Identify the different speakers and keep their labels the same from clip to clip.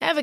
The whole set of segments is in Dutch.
Speaker 1: Ever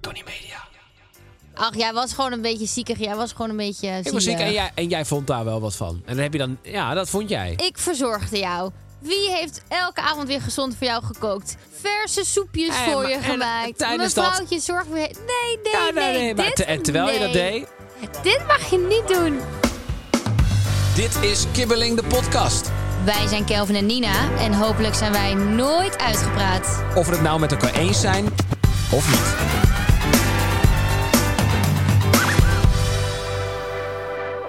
Speaker 2: Tony Media.
Speaker 3: Ach, jij was gewoon een beetje ziekig. Jij was gewoon een beetje zielig.
Speaker 2: Ik was ziek en jij, en jij vond daar wel wat van. En dan heb je dan... Ja, dat vond jij.
Speaker 3: Ik verzorgde jou. Wie heeft elke avond weer gezond voor jou gekookt? Verse soepjes
Speaker 2: Hey,
Speaker 3: voor
Speaker 2: Eh, maar-
Speaker 3: je
Speaker 2: en
Speaker 3: gemaakt.
Speaker 2: tijdens dat-
Speaker 3: Mevrouwtje, zorg weer... Nee, nee,
Speaker 2: Ja, nou,
Speaker 3: nee.
Speaker 2: maar
Speaker 3: dit,
Speaker 2: te- en terwijl je dat
Speaker 3: nee.
Speaker 2: deed...
Speaker 3: Dit mag je niet doen.
Speaker 2: Dit is Kibbeling de podcast.
Speaker 3: Wij zijn Kelvin en Nina. En hopelijk zijn wij nooit uitgepraat.
Speaker 2: Of we het nou met elkaar eens zijn of niet.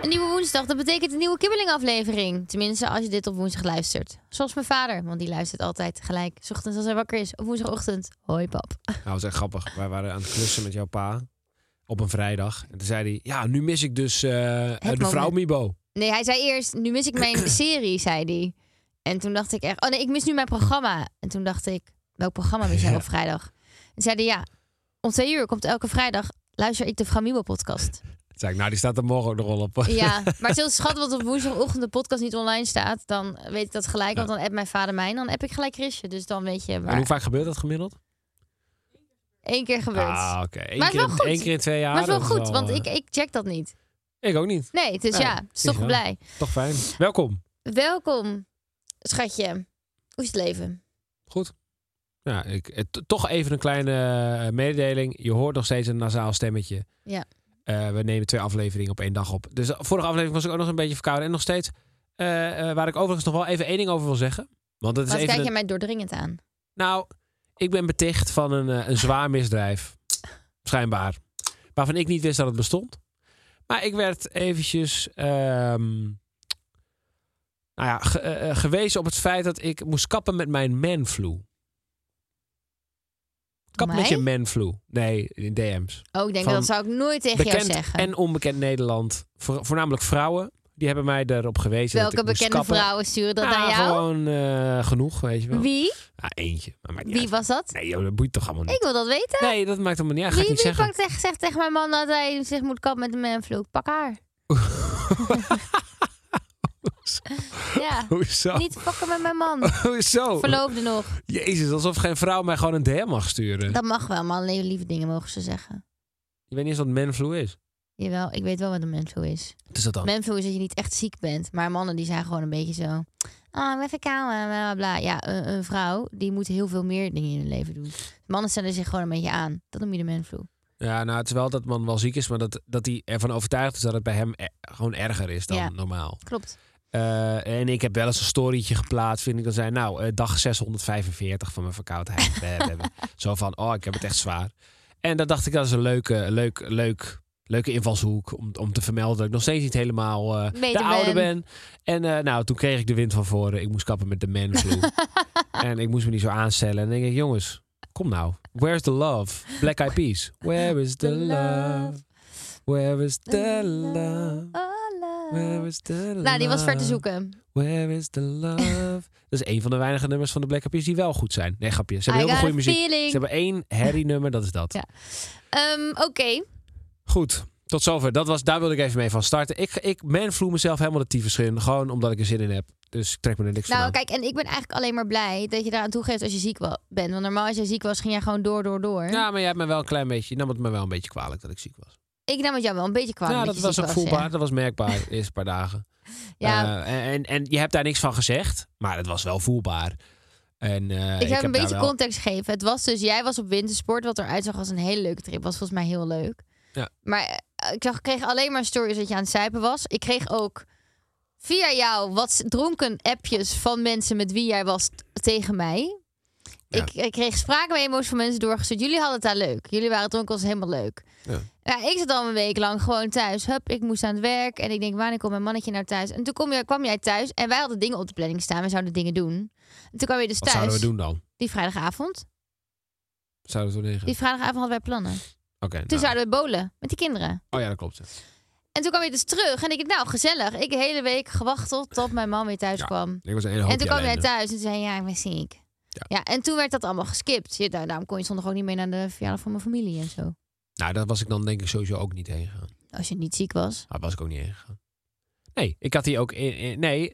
Speaker 3: Een nieuwe woensdag, dat betekent een nieuwe kibbeling-aflevering. Tenminste, als je dit op woensdag luistert. Zoals mijn vader, want die luistert altijd gelijk. 's Ochtends als hij wakker is. Op woensdagochtend. Hoi, pap.
Speaker 2: Nou, dat is echt grappig. Wij waren aan het klussen met jouw pa op een vrijdag. En toen zei hij, ja, nu mis ik dus eh, de
Speaker 3: moment.
Speaker 2: vrouw Mibo.
Speaker 3: Nee, hij zei eerst, nu mis ik mijn serie, zei hij. En toen dacht ik echt, oh nee, ik mis nu mijn programma. En toen dacht ik, welk programma mis jij
Speaker 2: Ja.
Speaker 3: op vrijdag? En zei hij, ja, om twee uur komt elke vrijdag, luister ik de Framibo podcast.
Speaker 2: Toen zei ik, nou, die staat er morgen ook nog wel op.
Speaker 3: Ja, maar het is heel schat, want op woensdagochtend de podcast niet online staat. Dan weet ik dat gelijk, want dan appt mijn vader mij en dan app ik gelijk Chrisje. Dus dan weet je
Speaker 2: En hoe
Speaker 3: waar.
Speaker 2: vaak gebeurt dat gemiddeld?
Speaker 3: Eén keer gebeurd.
Speaker 2: Ah, oké. Eén
Speaker 3: Maar het is
Speaker 2: keer
Speaker 3: wel
Speaker 2: in-
Speaker 3: goed.
Speaker 2: één keer in twee jaar.
Speaker 3: maar het is
Speaker 2: dat
Speaker 3: wel goed, want
Speaker 2: eh,
Speaker 3: ik, ik check dat niet.
Speaker 2: Ik ook niet.
Speaker 3: Nee, dus
Speaker 2: Nee,
Speaker 3: ja, het is
Speaker 2: is
Speaker 3: toch
Speaker 2: wel.
Speaker 3: blij.
Speaker 2: Toch fijn. Welkom.
Speaker 3: Welkom, schatje. Hoe is het leven?
Speaker 2: Goed. Ja, ik, eh, to- toch even een kleine eh, mededeling. Je hoort nog steeds een nasaal stemmetje.
Speaker 3: Ja.
Speaker 2: Eh, we nemen twee afleveringen op één dag op. Dus de vorige aflevering was ik ook nog een beetje verkouden. En nog steeds, eh, eh, waar ik overigens nog wel even één ding over wil zeggen. Want dat is
Speaker 3: Wat
Speaker 2: even
Speaker 3: kijk jij
Speaker 2: een-
Speaker 3: mij doordringend aan?
Speaker 2: Nou, ik ben beticht van een, eh, een zwaar misdrijf. Schijnbaar. Waarvan ik niet wist dat het bestond. Maar ik werd eventjes ehm, nou ja, ge- eh, eh, gewezen op het feit dat ik moest kappen met mijn manflu. Kap met
Speaker 3: Mij?
Speaker 2: je manflu. Nee, in DM's.
Speaker 3: Oh, ik denk
Speaker 2: Van
Speaker 3: dat zou ik nooit tegen jou
Speaker 2: Bekend
Speaker 3: zeggen.
Speaker 2: en onbekend Nederland. Voor- voornamelijk vrouwen. Die hebben mij erop gewezen dat
Speaker 3: Welke
Speaker 2: ik moest
Speaker 3: bekende
Speaker 2: kappen.
Speaker 3: vrouwen sturen dat
Speaker 2: Nou,
Speaker 3: naar jou?
Speaker 2: Gewoon eh, genoeg, weet je wel.
Speaker 3: Wie?
Speaker 2: Ah, eentje. Maar maakt niet
Speaker 3: Wie
Speaker 2: uit.
Speaker 3: was dat?
Speaker 2: Nee, joh, dat boeit toch allemaal niet.
Speaker 3: Ik wil dat weten.
Speaker 2: Nee, dat maakt helemaal niet uit. Ga ik
Speaker 3: Wie,
Speaker 2: niet
Speaker 3: wie
Speaker 2: zeggen.
Speaker 3: pakt echt, zegt tegen mijn man dat hij zich moet kappen met een manvloek? Pak haar. ja,
Speaker 2: Hoezo?
Speaker 3: niet pakken met mijn man.
Speaker 2: Hoezo?
Speaker 3: Verloofde nog.
Speaker 2: Jezus, alsof geen vrouw mij gewoon een DM mag sturen.
Speaker 3: Dat mag wel, man. Alleen lieve dingen mogen ze zeggen.
Speaker 2: Je weet niet eens wat menflu is.
Speaker 3: Jawel, ik weet wel wat een manvloek is.
Speaker 2: Wat is dat dan?
Speaker 3: Manvloek is dat je niet echt ziek bent. Maar mannen die zijn gewoon een beetje zo... Ah, ik ben even kou en bla bla bla. Ja, een, een vrouw die moet heel veel meer dingen in hun leven doen. Mannen stellen zich gewoon een beetje aan. Dat noem je de manvloek.
Speaker 2: Ja, nou, het is wel dat man wel ziek is, maar dat, dat hij ervan overtuigd is dat het bij hem e- gewoon erger is dan
Speaker 3: Ja.
Speaker 2: normaal.
Speaker 3: Klopt.
Speaker 2: Eh, en ik heb wel eens een storytje geplaatst, vind ik dan zei, nou, eh, dag 645 van mijn verkoudheid. Eh, eh, Zo van, oh, ik heb het echt zwaar. En dat dacht ik, dat is een leuke, leuk, leuk, leuke invalshoek om, om te vermelden dat ik nog steeds niet helemaal eh,
Speaker 3: Beter
Speaker 2: de
Speaker 3: ben.
Speaker 2: oude ben. En eh, nou, toen kreeg ik de wind van voren. Ik moest kappen met de manflu. en ik moest me niet zo aanstellen. En dan denk ik, jongens, kom nou. Where's the love? Black Eyed Peas. Where is the love? Where is the love?
Speaker 3: Oh, love.
Speaker 2: Where is the love?
Speaker 3: Nou, die was ver te zoeken.
Speaker 2: Where is the love? Dat is een van de weinige nummers van de Black Eyed Peas die wel goed zijn. Nee, grapje. Ze
Speaker 3: I
Speaker 2: hebben heel
Speaker 3: got
Speaker 2: veel
Speaker 3: a
Speaker 2: goede muziek.
Speaker 3: feeling.
Speaker 2: Ze hebben één herrie-nummer, dat is dat.
Speaker 3: Ja. Ehm, Oké,
Speaker 2: Goed, tot zover. Dat was, daar wilde ik even mee van starten. Ik, ik manvloe mezelf helemaal de tyfus in. Gewoon omdat ik er zin in heb. Dus ik trek me er niks van
Speaker 3: nou
Speaker 2: aan.
Speaker 3: kijk, en ik ben eigenlijk alleen maar blij dat je daaraan toegeeft als je ziek wa- bent. Want normaal als jij ziek was, ging jij gewoon door, door, door.
Speaker 2: Ja, maar jij hebt me wel een klein beetje, je nam het me wel een beetje kwalijk dat ik ziek was.
Speaker 3: Ik nam het jou wel een beetje kwalijk.
Speaker 2: ja, dat
Speaker 3: dat je
Speaker 2: was
Speaker 3: ziek
Speaker 2: ook voelbaar.
Speaker 3: ja.
Speaker 2: Dat was merkbaar de eerste paar dagen.
Speaker 3: Ja,
Speaker 2: Eh, en, en je hebt daar niks van gezegd, maar het was wel voelbaar. En, eh,
Speaker 3: ik heb een
Speaker 2: daar
Speaker 3: beetje
Speaker 2: wel-
Speaker 3: context gegeven. Het was dus, jij was op wintersport, wat eruit zag als een hele leuke trip. Was volgens mij heel leuk.
Speaker 2: Ja.
Speaker 3: Maar eh, ik, zag, ik kreeg alleen maar stories dat je aan het zuipen was. Ik kreeg ook via jou wat dronken appjes van mensen met wie jij was t- tegen mij.
Speaker 2: Ja.
Speaker 3: Ik, ik kreeg spraakmemo's van mensen doorgestuurd. Jullie hadden het daar leuk. Jullie waren dronken, was helemaal leuk.
Speaker 2: Ja.
Speaker 3: Ja, ik zat al een week lang gewoon thuis. Hup, ik moest aan het werk. En ik denk, wanneer komt mijn mannetje nou thuis? En toen kom je, kwam jij thuis en wij hadden dingen op de planning staan. We zouden dingen doen. En toen kwam je dus
Speaker 2: Wat
Speaker 3: thuis.
Speaker 2: zouden we doen dan?
Speaker 3: Die vrijdagavond.
Speaker 2: Zouden we toen liggen?
Speaker 3: Die
Speaker 2: Oké.
Speaker 3: vrijdagavond hadden wij plannen. Toen
Speaker 2: nou.
Speaker 3: zouden we bowlen met die kinderen.
Speaker 2: Oh ja, dat klopt. ja.
Speaker 3: En toen kwam je dus terug. En ik dacht, nou, gezellig. Ik de hele week gewachteld tot mijn man weer thuis
Speaker 2: Ja,
Speaker 3: kwam.
Speaker 2: Ik was een hele hoop
Speaker 3: en toen kwam jij thuis en toen zei je, ja, ik ben ziek.
Speaker 2: Ja.
Speaker 3: Ja. en toen werd dat allemaal geskipt. Je, daar- daarom kon je zondag ook niet mee naar de verjaardag van mijn familie en zo.
Speaker 2: Nou, dat was ik dan denk ik sowieso ook niet heen gegaan.
Speaker 3: Als je niet ziek was.
Speaker 2: Daar was ik ook niet heen gegaan. Nee, ik had die ook... In, in- nee,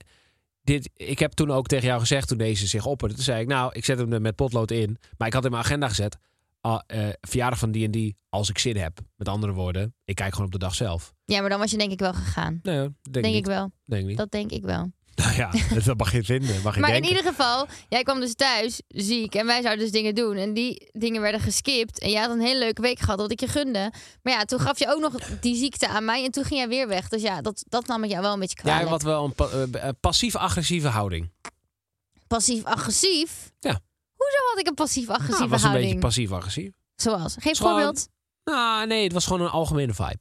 Speaker 2: dit, ik heb toen ook tegen jou gezegd toen deze zich opperde. Toen zei ik, nou, ik zet hem er met potlood in. Maar ik had in mijn agenda gezet... ah, eh, verjaardag van die en die, als ik zin heb. Met andere woorden, ik kijk gewoon op de dag zelf.
Speaker 3: Ja, maar dan was je denk ik wel gegaan.
Speaker 2: Nee, hoor, denk,
Speaker 3: Denk,
Speaker 2: ik
Speaker 3: ik wel.
Speaker 2: Denk ik niet.
Speaker 3: Dat denk ik wel.
Speaker 2: Nou ja, dat mag je vinden. Mag je
Speaker 3: maar
Speaker 2: denken.
Speaker 3: in ieder geval, jij kwam dus thuis ziek en wij zouden dus dingen doen. En die dingen werden geskipt. En jij had een hele leuke week gehad, wat ik je gunde. Maar ja, toen gaf je ook nog die ziekte aan mij en toen ging jij weer weg. Dus ja, dat, dat nam ik jou wel een beetje kwalijk.
Speaker 2: Ja, wat wel een pa- eh, eh, passief-agressieve houding.
Speaker 3: Passief-agressief?
Speaker 2: Ja.
Speaker 3: Hoezo had ik een passief-agressieve
Speaker 2: Ja, Nou, was een beetje
Speaker 3: houding?
Speaker 2: passief-agressief.
Speaker 3: Zoals? Geef
Speaker 2: Gewoon-
Speaker 3: voorbeeld.
Speaker 2: Nou, nee, het was gewoon een algemene vibe.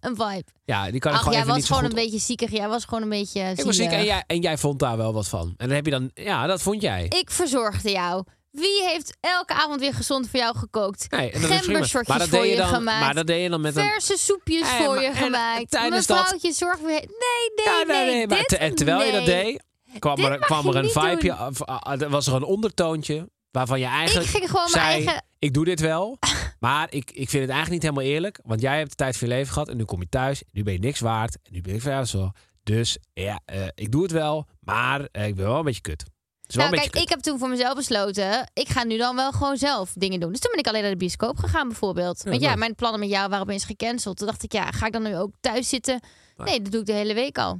Speaker 3: Een vibe.
Speaker 2: Ja, die kan ik
Speaker 3: Ach, jij
Speaker 2: gewoon Nou, even
Speaker 3: was
Speaker 2: niet zo
Speaker 3: gewoon een
Speaker 2: goed
Speaker 3: beetje ziekig. Jij was gewoon een beetje
Speaker 2: Ik was ziek en
Speaker 3: zielig.
Speaker 2: jij, en jij vond daar wel wat van. En dan heb je dan... Ja, dat vond jij.
Speaker 3: Ik verzorgde jou. Wie heeft elke avond weer gezond voor jou gekookt?
Speaker 2: Nee, en dat is prima.
Speaker 3: Gembersortjes
Speaker 2: Maar dat
Speaker 3: voor
Speaker 2: deed
Speaker 3: je
Speaker 2: je dan,
Speaker 3: gemaakt.
Speaker 2: maar dat deed je dan met een...
Speaker 3: Verse soepjes
Speaker 2: Eh,
Speaker 3: voor
Speaker 2: maar-
Speaker 3: je
Speaker 2: en
Speaker 3: gemaakt.
Speaker 2: tijdens dat-
Speaker 3: Mevrouwtje, zorg weer... Nee, nee,
Speaker 2: Ja,
Speaker 3: nee.
Speaker 2: maar
Speaker 3: dit-
Speaker 2: te- en terwijl je dat
Speaker 3: nee.
Speaker 2: deed, kwam
Speaker 3: Dit
Speaker 2: er,
Speaker 3: mag
Speaker 2: kwam
Speaker 3: je
Speaker 2: er een
Speaker 3: niet
Speaker 2: vibeje...
Speaker 3: doen.
Speaker 2: af- ah, Er was er een ondertoontje waarvan je
Speaker 3: Ik
Speaker 2: eigenlijk...
Speaker 3: ging gewoon
Speaker 2: zei,
Speaker 3: mijn eigen...
Speaker 2: ik doe dit wel, maar ik, ik vind het eigenlijk niet helemaal eerlijk. Want jij hebt de tijd van je leven gehad en nu kom je thuis. En nu ben je niks waard en nu ben ik verjaardagsdag. Dus ja, eh, ik doe het wel, maar eh, ik ben wel een beetje kut. Het is wel
Speaker 3: Nou,
Speaker 2: een
Speaker 3: kijk,
Speaker 2: beetje
Speaker 3: ik heb toen voor mezelf besloten. Ik ga nu dan wel gewoon zelf dingen doen. Dus toen ben ik alleen naar de bioscoop gegaan, bijvoorbeeld.
Speaker 2: Ja,
Speaker 3: Want ja,
Speaker 2: leuk.
Speaker 3: mijn plannen met jou waren opeens gecanceld. Toen dacht ik, ja, ga ik dan nu ook thuis zitten?
Speaker 2: Nee.
Speaker 3: Nee, dat doe ik de hele week al.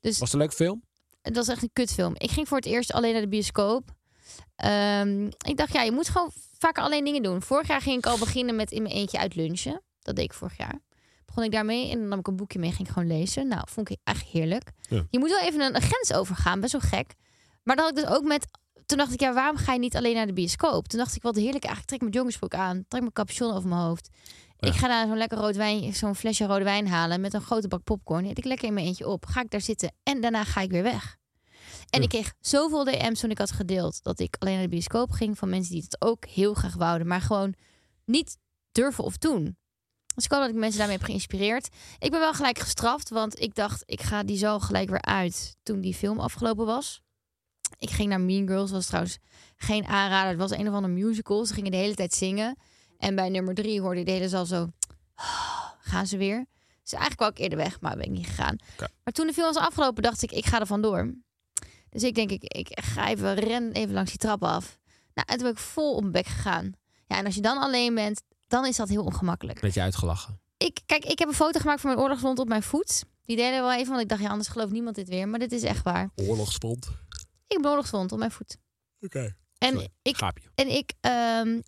Speaker 2: kut. Was het een leuke film?
Speaker 3: Het was echt een kutfilm. Ik ging voor het eerst alleen naar de bioscoop. Ehm, ik dacht, ja, je moet gewoon vaker alleen dingen doen. Vorig jaar ging ik al beginnen met in mijn eentje uit lunchen. Dat deed ik vorig jaar. Begon ik daarmee en dan nam ik een boekje mee en ging ik gewoon lezen. Nou, vond ik echt heerlijk.
Speaker 2: Ja.
Speaker 3: Je moet wel even een, een grens overgaan, best wel gek. Maar dat had ik dus ook met... Toen dacht ik, ja, waarom ga je niet alleen naar de bioscoop? Toen dacht ik, wat heerlijk eigenlijk. Trek mijn jongensbroek aan, trek mijn capuchon over mijn hoofd.
Speaker 2: Ja.
Speaker 3: Ik ga daar zo'n lekker rood wijn, zo'n flesje rode wijn halen met een grote bak popcorn. Eet ik lekker in mijn eentje op. Ga ik daar zitten en daarna ga ik weer weg. En
Speaker 2: Ja.
Speaker 3: ik kreeg zoveel DM's toen ik had gedeeld dat ik alleen naar de bioscoop ging van mensen die het ook heel graag wouden, maar gewoon niet durven of doen. Dus ik hoop dat ik mensen daarmee heb geïnspireerd. Ik ben wel gelijk gestraft, want ik dacht ik ga die zo gelijk weer uit toen die film afgelopen was. Ik ging naar Mean Girls, was trouwens geen aanrader. Het was een of andere musical. Ze gingen de hele tijd zingen. En bij nummer drie hoorde ik de hele zaal zo... "Oh, Gaan ze weer? Dus eigenlijk wou ik eerder weg, maar ben ik niet gegaan.
Speaker 2: Oké.
Speaker 3: Maar toen de film was afgelopen, dacht ik, ik ga er vandoor. Dus ik denk, ik, ik ga even, ren even langs die trap af. Nou, en toen ben ik vol op mijn bek gegaan. Ja, en als je dan alleen bent, dan is dat heel ongemakkelijk.
Speaker 2: Een beetje uitgelachen.
Speaker 3: Ik, kijk, ik heb een foto gemaakt van mijn oorlogswond op mijn voet. Die deden we wel even, want ik dacht, ja, anders gelooft niemand dit weer. Maar dit is echt waar.
Speaker 2: Oorlogsvond. Oké.
Speaker 3: Ik heb een oorlogswond op mijn voet. En
Speaker 2: Sorry.
Speaker 3: ik
Speaker 2: Gaapje.
Speaker 3: en ik ehm,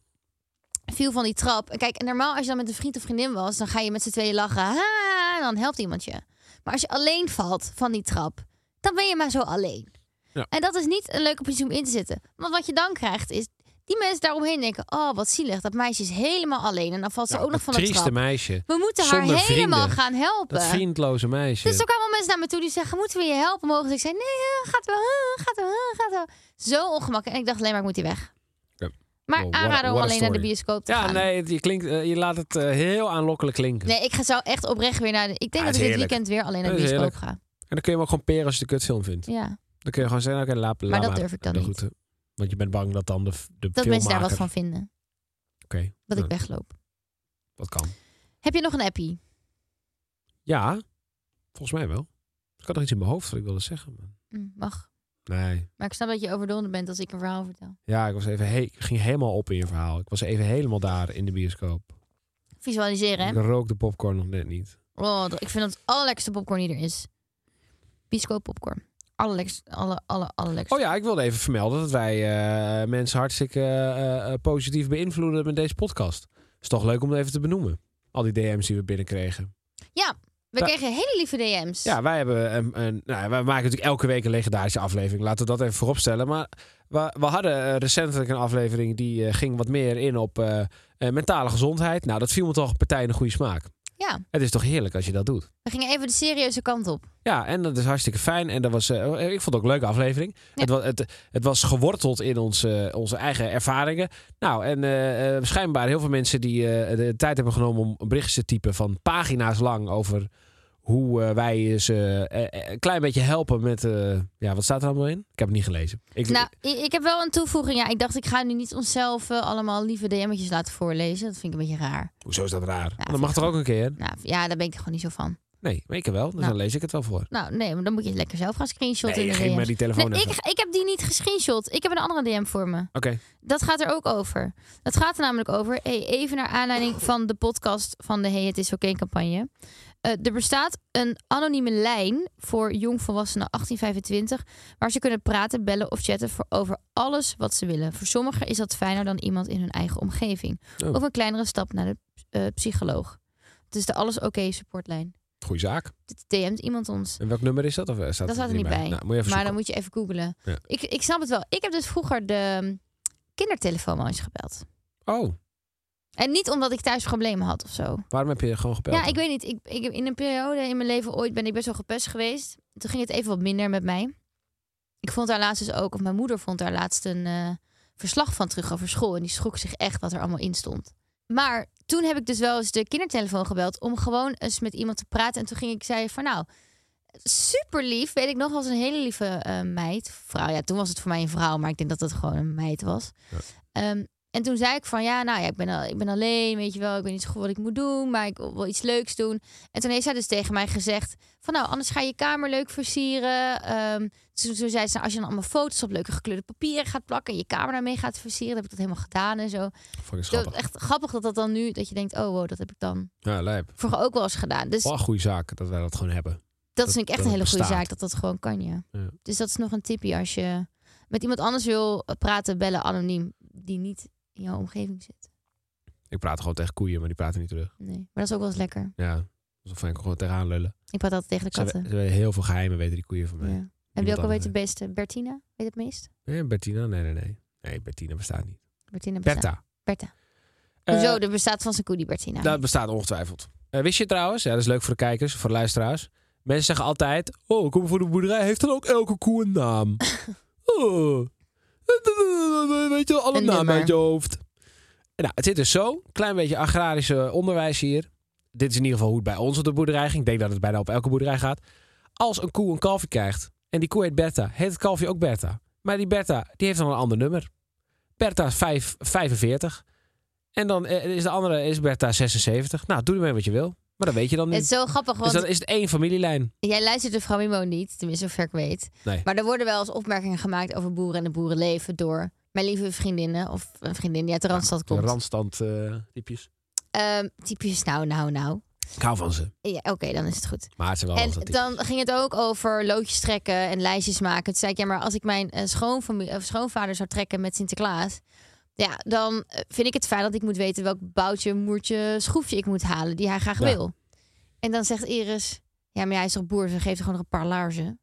Speaker 3: viel van die trap. En Kijk, en normaal als je dan met een vriend of vriendin was, dan ga je met z'n tweeën lachen. Ha, en dan helpt iemand je. Maar als je alleen valt van die trap, dan ben je maar zo alleen.
Speaker 2: Ja.
Speaker 3: En dat is niet een leuke positie om in te zitten. Want wat je dan krijgt is, die mensen daaromheen denken... oh, wat zielig, dat meisje is helemaal alleen. En dan valt ze
Speaker 2: Ja,
Speaker 3: ook nog van
Speaker 2: dat
Speaker 3: de
Speaker 2: Nou, trieste
Speaker 3: trap.
Speaker 2: meisje.
Speaker 3: We moeten haar
Speaker 2: Zonder
Speaker 3: helemaal
Speaker 2: vrienden.
Speaker 3: gaan helpen.
Speaker 2: Dat vriendloze meisje.
Speaker 3: Dus er kwamen mensen naar me toe die zeggen: Moeten we je helpen? Mogen? Ik zei: Nee, eh, gaat wel, eh, gaat wel, eh, gaat wel. Zo ongemakkelijk. En ik dacht alleen maar: Ik moet hier weg.
Speaker 2: Ja.
Speaker 3: Maar
Speaker 2: Wow, what a-
Speaker 3: aanraden om
Speaker 2: what a
Speaker 3: alleen naar de
Speaker 2: story.
Speaker 3: bioscoop te
Speaker 2: ja,
Speaker 3: gaan.
Speaker 2: nee, het- je, klinkt, eh, je laat het eh, heel aanlokkelijk klinken.
Speaker 3: Nee, ik ga zo echt oprecht weer naar de. Ik denk
Speaker 2: het
Speaker 3: dat
Speaker 2: is
Speaker 3: ik dit
Speaker 2: heerlijk.
Speaker 3: weekend weer alleen naar de
Speaker 2: Het is
Speaker 3: bioscoop ga.
Speaker 2: En dan kun je hem ook gewoon peren als je de kutfilm vindt.
Speaker 3: Ja.
Speaker 2: Dan kun je gewoon zeggen, oké, laat, laat
Speaker 3: Maar dat durf ik dan
Speaker 2: de
Speaker 3: niet.
Speaker 2: route. Want je bent bang dat dan de, f- de
Speaker 3: Dat mensen daar
Speaker 2: filmmaker-
Speaker 3: wat van vinden.
Speaker 2: Oké,
Speaker 3: Dat
Speaker 2: Ja.
Speaker 3: ik wegloop.
Speaker 2: dat kan.
Speaker 3: Heb je nog een appie?
Speaker 2: Ja, volgens mij wel. Ik had nog iets in mijn hoofd wat ik wilde zeggen. maar-
Speaker 3: Hm, mag.
Speaker 2: Nee.
Speaker 3: Maar ik snap dat je overdonderd bent als ik een verhaal vertel.
Speaker 2: Ja, ik, was even he- ik ging helemaal op in je verhaal. Ik was even helemaal daar in de bioscoop.
Speaker 3: Visualiseren, hè?
Speaker 2: Ik rook de popcorn nog net niet.
Speaker 3: Oh, dat- ik vind dat het allerlekkerste popcorn die er is. Bioscoop popcorn. Allerlekkerste, alle, alle, allerlekkerste.
Speaker 2: Oh ja, ik wilde even vermelden dat wij eh, mensen hartstikke eh, eh, positief beïnvloeden met deze podcast. Is toch leuk om dat even te benoemen. Al die DM's die we binnenkregen.
Speaker 3: Ja, We
Speaker 2: Da-
Speaker 3: kregen hele lieve DM's.
Speaker 2: Ja, wij, hebben een, een, nou, wij maken natuurlijk elke week een legendarische aflevering. Laten we dat even vooropstellen. Maar we, we hadden eh, recentelijk een aflevering die eh, ging wat meer in op eh, eh, mentale gezondheid. Nou, dat viel me toch een partij in de goede smaak.
Speaker 3: Ja.
Speaker 2: Het is toch heerlijk als je dat doet.
Speaker 3: We gingen even de serieuze kant op.
Speaker 2: Ja, en dat is hartstikke fijn. En dat was, eh, ik vond het ook een leuke aflevering.
Speaker 3: Ja.
Speaker 2: Het, was, het, het was geworteld in onze, onze eigen ervaringen. Nou, en eh, eh, schijnbaar heel veel mensen die eh, de tijd hebben genomen om berichten te typen van pagina's lang over hoe eh, wij ze eh, eh, een klein beetje helpen met... eh, ja, wat staat er allemaal in? Ik heb het niet gelezen. Ik,
Speaker 3: Nou, ik, ik heb wel een toevoeging. Ja, ik dacht, ik ga nu niet onszelf eh, allemaal lieve DM'tjes laten voorlezen. Dat vind ik een beetje raar.
Speaker 2: hoezo is dat raar? Nou,
Speaker 3: vind
Speaker 2: dat mag
Speaker 3: ik
Speaker 2: toch ook een keer?
Speaker 3: Nou, ja, daar ben ik gewoon niet zo van.
Speaker 2: Nee, maar ik wel. Dus
Speaker 3: Nou.
Speaker 2: dan lees ik het wel voor.
Speaker 3: Nou, nee, maar dan moet je het lekker zelf gaan screenshotten.
Speaker 2: Nee,
Speaker 3: in de
Speaker 2: geef mij
Speaker 3: DM's.
Speaker 2: die telefoon
Speaker 3: Nee,
Speaker 2: even.
Speaker 3: ik, ik heb die niet gescreenshot. Ik heb een andere DM voor me.
Speaker 2: Oké,
Speaker 3: Dat gaat er ook over. Dat gaat er namelijk over. Hey, even naar aanleiding van de podcast van de Hey Het Is Oké campagne. Eh, er bestaat een anonieme lijn voor jongvolwassenen 1825... waar ze kunnen praten, bellen of chatten voor over alles wat ze willen. Voor sommigen is dat fijner dan iemand in hun eigen omgeving.
Speaker 2: Oh.
Speaker 3: Of een kleinere stap naar de eh, psycholoog. Het is de Alles Oké supportlijn.
Speaker 2: goeie zaak.
Speaker 3: Dit DM't iemand ons.
Speaker 2: En welk nummer is dat? Of, eh, staat
Speaker 3: Dat staat er niet bij.
Speaker 2: Nou, moet je even
Speaker 3: Maar
Speaker 2: zoeken.
Speaker 3: dan moet je even googlen.
Speaker 2: Ja.
Speaker 3: Ik, ik snap het wel. Ik heb dus vroeger de hm, kindertelefoon wel eens gebeld.
Speaker 2: Oh,
Speaker 3: En niet omdat ik thuis problemen had of zo.
Speaker 2: waarom heb je gewoon gebeld?
Speaker 3: Ja, ik weet niet. Ik, ik, heb in een periode in mijn leven ooit ben ik best wel gepest geweest. Toen ging het even wat minder met mij. Ik vond daar laatst dus ook, of mijn moeder vond daar laatst een eh, verslag van terug over school. En die schrok zich echt wat er allemaal in stond. Maar toen heb ik dus wel eens de kindertelefoon gebeld om gewoon eens met iemand te praten. En toen ging ik zei van nou, super lief. Weet ik nog, was een hele lieve eh, meid. Vrouw, ja, toen was het voor mij een vrouw, maar ik denk dat dat gewoon een meid was.
Speaker 2: Ja.
Speaker 3: Ehm, en toen zei ik van ja, nou ja, ik ben, al, ik ben alleen, weet je wel, ik weet niet zo goed wat ik moet doen, maar ik wil iets leuks doen. En toen heeft zij dus tegen mij gezegd van nou, anders ga je je kamer leuk versieren. Ehm, toen, toen zei ze, nou, als je dan allemaal foto's op leuke gekleurde papieren gaat plakken en je kamer daarmee gaat versieren, dan heb ik dat helemaal gedaan en zo.
Speaker 2: Fucking
Speaker 3: Het
Speaker 2: schattig.
Speaker 3: is echt grappig dat dat dan nu, dat je denkt, oh wow, dat heb ik dan
Speaker 2: Ja, lijp.
Speaker 3: vroeger ook wel eens gedaan. Dus
Speaker 2: Wat een goede zaak dat wij dat gewoon hebben.
Speaker 3: dat vind ik echt
Speaker 2: dat
Speaker 3: een hele goede
Speaker 2: bestaat.
Speaker 3: zaak, dat dat gewoon kan, ja.
Speaker 2: Ja.
Speaker 3: Dus dat is nog een tipje als je met iemand anders wil praten, bellen, anoniem, die niet in jouw omgeving zit.
Speaker 2: Ik praat gewoon tegen koeien, maar die praten niet terug.
Speaker 3: Nee, maar dat is ook wel eens lekker.
Speaker 2: Ja, alsof ik gewoon tegenaan lullen.
Speaker 3: Ik praat altijd tegen de
Speaker 2: Ze hebben,
Speaker 3: katten.
Speaker 2: ze hebben heel veel geheimen, weten die koeien van mij.
Speaker 3: Ja. En welke
Speaker 2: anders,
Speaker 3: weet het beste? Bertina weet het meest?
Speaker 2: Nee, Bertina? Nee, nee, nee. Nee, Bertina bestaat niet.
Speaker 3: Bertina bestaat.
Speaker 2: Bertha.
Speaker 3: Bertha.
Speaker 2: Eh,
Speaker 3: Hoezo? Er bestaat van zijn koe die Bertina.
Speaker 2: Nou, dat bestaat ongetwijfeld. Eh, wist je trouwens, ja, dat is leuk voor de kijkers, voor de luisteraars. Mensen zeggen altijd, oh, ik kom voor de boerderij, heeft dan ook elke koe een naam? oh, weet je wel, alle
Speaker 3: Een
Speaker 2: namen
Speaker 3: nummer.
Speaker 2: uit je hoofd. Nou, het zit dus zo, klein beetje agrarische onderwijs hier. Dit is in ieder geval hoe het bij ons op de boerderij ging. Ik denk dat het bijna op elke boerderij gaat. Als een koe een kalfje krijgt en die koe heet Bertha, heet het kalfje ook Bertha. Maar die Bertha, die heeft dan een ander nummer. Bertha is vijf- 45. En dan eh, is de andere is Bertha 76. Nou, doe ermee wat je wil. Maar dat weet je dan
Speaker 3: Het
Speaker 2: niet.
Speaker 3: is zo grappig,
Speaker 2: Dus
Speaker 3: want
Speaker 2: dan is het één familielijn.
Speaker 3: jij luistert de vrouw Mimo niet, tenminste zover ik weet.
Speaker 2: Nee.
Speaker 3: Maar er worden wel eens opmerkingen gemaakt over boeren en het boerenleven door mijn lieve vriendinnen of een vriendin die uit de Randstad komt.
Speaker 2: Randstand eh, typjes.
Speaker 3: Ehm, typisch nou, nou, nou.
Speaker 2: Ik hou van ze.
Speaker 3: Ja, Oké, dan is het goed.
Speaker 2: Maar het zijn wel
Speaker 3: En
Speaker 2: Randstad types.
Speaker 3: dan ging het ook over loodjes trekken en lijstjes maken. Toen zei ik, ja, maar als ik mijn eh, schoonfamilie, of schoonvader zou trekken met Sinterklaas... Ja, dan eh, vind ik het fijn dat ik moet weten welk boutje, moertje, schroefje ik moet halen die hij graag
Speaker 2: Ja.
Speaker 3: wil. En dan zegt Iris, ja, maar jij is toch boer, ze geeft gewoon nog een paar laarzen.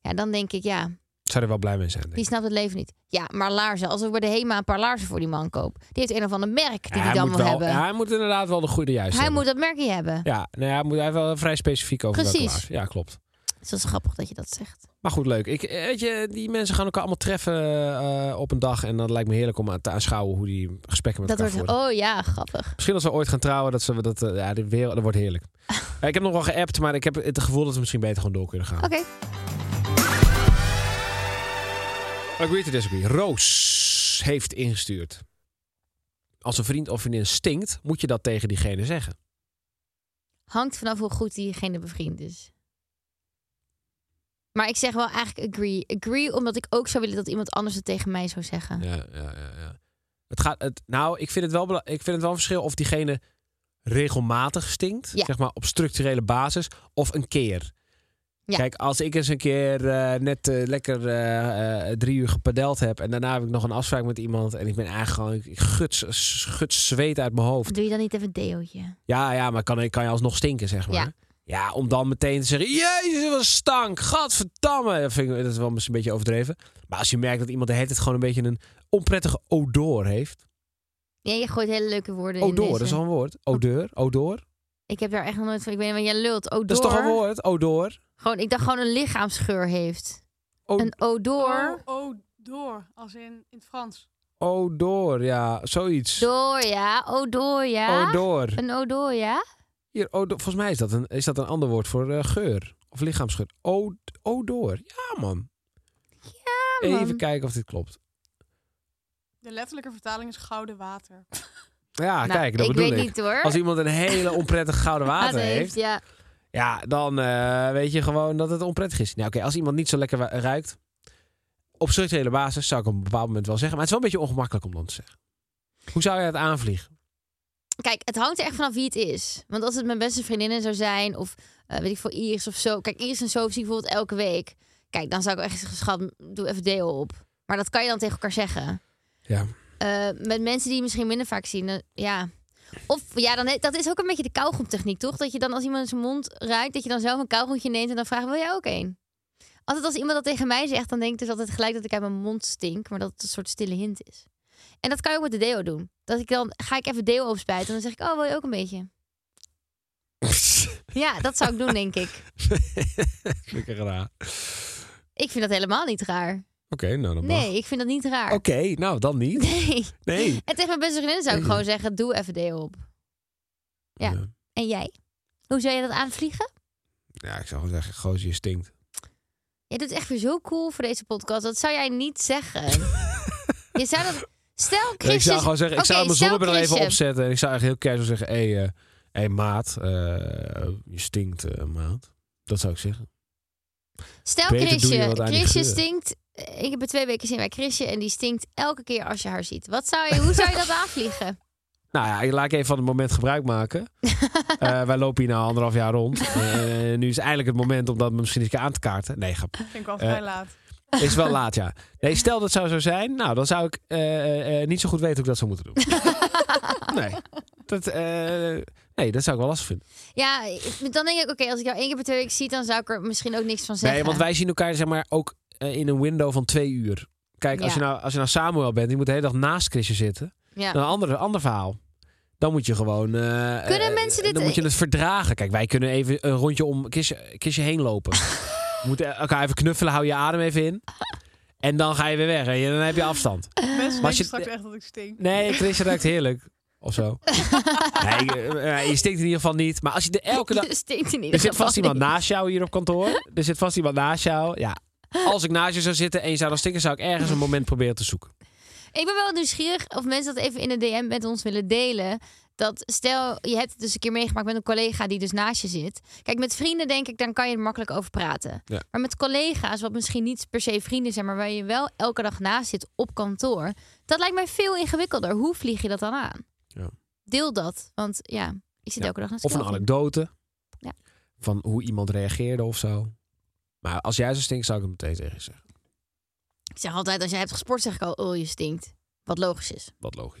Speaker 3: Ja, dan denk ik, ja,
Speaker 2: Zou er wel blij mee zijn. denk ik.
Speaker 3: die snapt het leven niet. Ja, maar laarzen, als ik bij de HEMA een paar laarzen voor die man koop. Die heeft een of ander merk die
Speaker 2: Ja,
Speaker 3: hij dan
Speaker 2: moet
Speaker 3: wil
Speaker 2: wel-
Speaker 3: hebben.
Speaker 2: ja, hij moet inderdaad wel de goede juiste
Speaker 3: hij
Speaker 2: hebben.
Speaker 3: moet dat merkje hebben.
Speaker 2: Ja, nou ja, hij moet hij heeft wel vrij specifiek over welke
Speaker 3: Precies.
Speaker 2: laars. Ja, klopt.
Speaker 3: Dus dat is grappig dat je dat zegt.
Speaker 2: Maar goed, leuk. Ik, eh, weet je, die mensen gaan elkaar allemaal treffen eh, op een dag. En dat lijkt me heerlijk om aan- te aanschouwen hoe die gesprekken met
Speaker 3: Dat
Speaker 2: elkaar
Speaker 3: wordt,
Speaker 2: voeren.
Speaker 3: oh ja, grappig.
Speaker 2: Misschien als we ooit gaan trouwen, dat ze dat, eh, ja, de wereld, dat wordt heerlijk. Eh, ik heb nog wel geappt, maar ik heb het gevoel dat we misschien beter gewoon door kunnen gaan.
Speaker 3: Oké.
Speaker 2: Agree to disagree. Roos heeft ingestuurd. Als een vriend of vriendin stinkt, moet je dat tegen diegene zeggen.
Speaker 3: hangt vanaf hoe goed diegene bevriend is. Maar ik zeg wel eigenlijk agree. Agree omdat ik ook zou willen dat iemand anders het tegen mij zou zeggen.
Speaker 2: Ja, ja, ja. ja. Het gaat, het, nou, ik vind het, wel, bela- ik vind het wel een verschil of diegene regelmatig stinkt,
Speaker 3: Ja.
Speaker 2: zeg maar op structurele basis, of een keer.
Speaker 3: Ja.
Speaker 2: Kijk, als ik eens een keer eh, net eh, lekker eh, eh, drie uur gepadeld heb en daarna heb ik nog een afspraak met iemand en ik ben eigenlijk gewoon, ik, ik guts, guts zweet uit mijn hoofd.
Speaker 3: Doe je dan niet even een deootje?
Speaker 2: Ja, ja, maar kan, kan je alsnog stinken, zeg maar.
Speaker 3: Ja.
Speaker 2: Ja. Ja, om dan meteen te zeggen, jezus, wat stank, gadverdamme. Dat, vind ik, dat is wel misschien een beetje overdreven. Maar als je merkt dat iemand de hele tijd gewoon een beetje een onprettige odor heeft.
Speaker 3: Ja, je gooit hele leuke woorden in.
Speaker 2: Odor,
Speaker 3: deze.
Speaker 2: Oh, dat is al een woord. Odeur, odor.
Speaker 3: Ik heb daar echt nog nooit van. Ik weet niet, maar jij lult. Odor.
Speaker 2: Dat is toch een woord, odor.
Speaker 3: Gewoon, ik dacht gewoon een lichaamsgeur heeft.
Speaker 2: O-
Speaker 3: Een odor.
Speaker 4: Oh, oh, door. Als in, in het Frans.
Speaker 2: Odor, ja, zoiets.
Speaker 3: Door, ja. Odor, ja.
Speaker 2: Odor.
Speaker 3: Een odor, ja.
Speaker 2: Hier, odor. Volgens mij is dat een, is dat een ander woord voor eh, geur. Of lichaamsgeur. O- odor. Ja, man.
Speaker 3: Ja, man.
Speaker 2: Even kijken of dit klopt.
Speaker 4: De letterlijke vertaling is gouden water.
Speaker 2: Ja,
Speaker 3: Nou,
Speaker 2: Ah, kijk, dat
Speaker 3: ik
Speaker 2: bedoel
Speaker 3: weet
Speaker 2: ik.
Speaker 3: niet hoor.
Speaker 2: Als iemand een hele onprettig gouden
Speaker 3: Water
Speaker 2: water heeft,
Speaker 3: ja.
Speaker 2: ja, dan eh, weet je gewoon dat het onprettig is. Nou, oké, als iemand niet zo lekker wa- ruikt, op structurele basis zou ik op een bepaald moment wel zeggen, maar het is wel een beetje ongemakkelijk om dan te zeggen. Hoe zou jij het aanvliegen?
Speaker 3: Kijk, het hangt er echt vanaf wie het is. Want als het mijn beste vriendinnen zou zijn, of eh, weet ik veel, Iris of zo. Kijk, Iris en zo zie ik bijvoorbeeld elke week. Kijk, dan zou ik wel echt zeggen, schat, doe even deel op. Maar dat kan je dan tegen elkaar zeggen.
Speaker 2: Ja.
Speaker 3: Eh, met mensen die je misschien minder vaak zien, dan- ja. Of ja, dan, dat is ook een beetje de kauwgomtechniek, toch? Dat je dan als iemand zijn mond ruikt, dat je dan zelf een kauwgompje neemt en dan vraagt, wil jij ook een? Altijd als iemand dat tegen mij zegt, dan denk ik dus altijd gelijk dat ik uit mijn mond stink. Maar dat het een soort stille hint is. En dat kan je ook met de deo doen. Dat ik dan ga ik even deo opspuiten en dan zeg ik, oh, wil je ook een beetje? Ja, dat zou ik doen, denk ik.
Speaker 2: Lekker raar.
Speaker 3: Ik vind dat helemaal niet raar.
Speaker 2: Oké, nou dan mag.
Speaker 3: Nee, ik vind dat niet raar.
Speaker 2: Oké, nou dan niet.
Speaker 3: Nee.
Speaker 2: Nee.
Speaker 3: En tegen mijn beste vriendin zou ik gewoon zeggen, doe even deo op. Ja. En jij? Hoe zou je dat aanvliegen?
Speaker 2: Ja, ik zou gewoon zeggen, gozer, je stinkt.
Speaker 3: Jij doet echt weer zo cool voor deze podcast. Dat zou jij niet zeggen. je zou dat... Stel,
Speaker 2: ik zou
Speaker 3: Christus...
Speaker 2: gewoon zeggen, ik zou
Speaker 3: Oké,
Speaker 2: mijn
Speaker 3: stel
Speaker 2: zonnebril even
Speaker 3: Chrisje.
Speaker 2: opzetten. En ik zou echt heel keihard zeggen, hé hey, eh, hey, maat, eh, je stinkt eh, maat. Dat zou ik zeggen.
Speaker 3: Stel,
Speaker 2: Beter doe je
Speaker 3: Chrisje.
Speaker 2: wat aan die
Speaker 3: Chrisje
Speaker 2: geur.
Speaker 3: stinkt... eh, Ik heb er twee weken zin bij Chrisje. En die stinkt elke keer als je haar ziet. Wat zou je, hoe zou je dat aanvliegen?
Speaker 2: Nou ja, ik- laat ik even van het moment gebruik maken. Eh, wij lopen hier nu anderhalf jaar rond. Eh, nu is eindelijk het moment om dat misschien eens een keer aan te kaarten. Nee, grap.
Speaker 4: Vind ik wel
Speaker 2: Eh,
Speaker 4: vrij laat.
Speaker 2: Is wel laat, ja. Nee, stel dat zou zo zijn. Nou, dan zou ik eh, eh, niet zo goed weten hoe ik dat zou moeten doen. Nee, dat, eh, nee, dat zou ik wel lastig vinden.
Speaker 3: ja, ik- dan denk ik... Oké, als ik jou één keer per twee weken zie... dan zou ik er misschien ook niks van zeggen.
Speaker 2: Nee, want wij zien elkaar zeg maar ook eh, in een window van twee uur. Kijk, als,
Speaker 3: Ja.
Speaker 2: je nou, als je nou Samuel bent, die moet de hele dag naast Chrisje zitten.
Speaker 3: Ja.
Speaker 2: Dan een ander, ander verhaal. Dan moet je gewoon... eh,
Speaker 3: Kunnen
Speaker 2: eh,
Speaker 3: mensen dit- e-
Speaker 2: Dan moet je het verdragen. Kijk, wij kunnen even een rondje om Chrisje, Chrisje heen lopen. We moeten elkaar even knuffelen, hou je adem even in. En dan ga je weer weg. En dan heb je afstand.
Speaker 4: Mensen
Speaker 2: als je-
Speaker 4: denken straks echt dat ik stink.
Speaker 2: Nee, Chrisje ruikt heerlijk. Of zo. Nee, eh, eh, je stinkt in ieder geval niet. Maar als je de elke dag...
Speaker 3: Dat stinkt in ieder
Speaker 2: Er zit
Speaker 3: geval
Speaker 2: vast iemand
Speaker 3: niet.
Speaker 2: naast jou hier op kantoor. Er zit vast iemand naast jou. Ja. Als ik naast je zou zitten en je zou dan stinken, zou ik ergens een moment proberen te zoeken.
Speaker 3: Ik ben wel nieuwsgierig of mensen dat even in de DM met ons willen delen. Dat stel, je hebt het dus een keer meegemaakt met een collega die dus naast je zit. Kijk, met vrienden denk ik, dan kan je er makkelijk over praten.
Speaker 2: Ja.
Speaker 3: Maar met collega's, wat misschien niet per se vrienden zijn, maar waar je wel elke dag naast zit op kantoor. Dat lijkt mij veel ingewikkelder. Hoe vlieg je dat dan aan?
Speaker 2: Ja.
Speaker 3: Deel dat, want ja, ik zit
Speaker 2: Ja,
Speaker 3: elke dag naast
Speaker 2: Of een
Speaker 3: Kelvin.
Speaker 2: anekdote.
Speaker 3: Ja.
Speaker 2: Van hoe iemand reageerde of zo. Maar als jij zo stinkt, zou ik het meteen tegen je zeggen.
Speaker 3: Ik zeg altijd, als jij hebt gesport, zeg ik al, oh je stinkt. Wat logisch is.
Speaker 2: Wat logisch.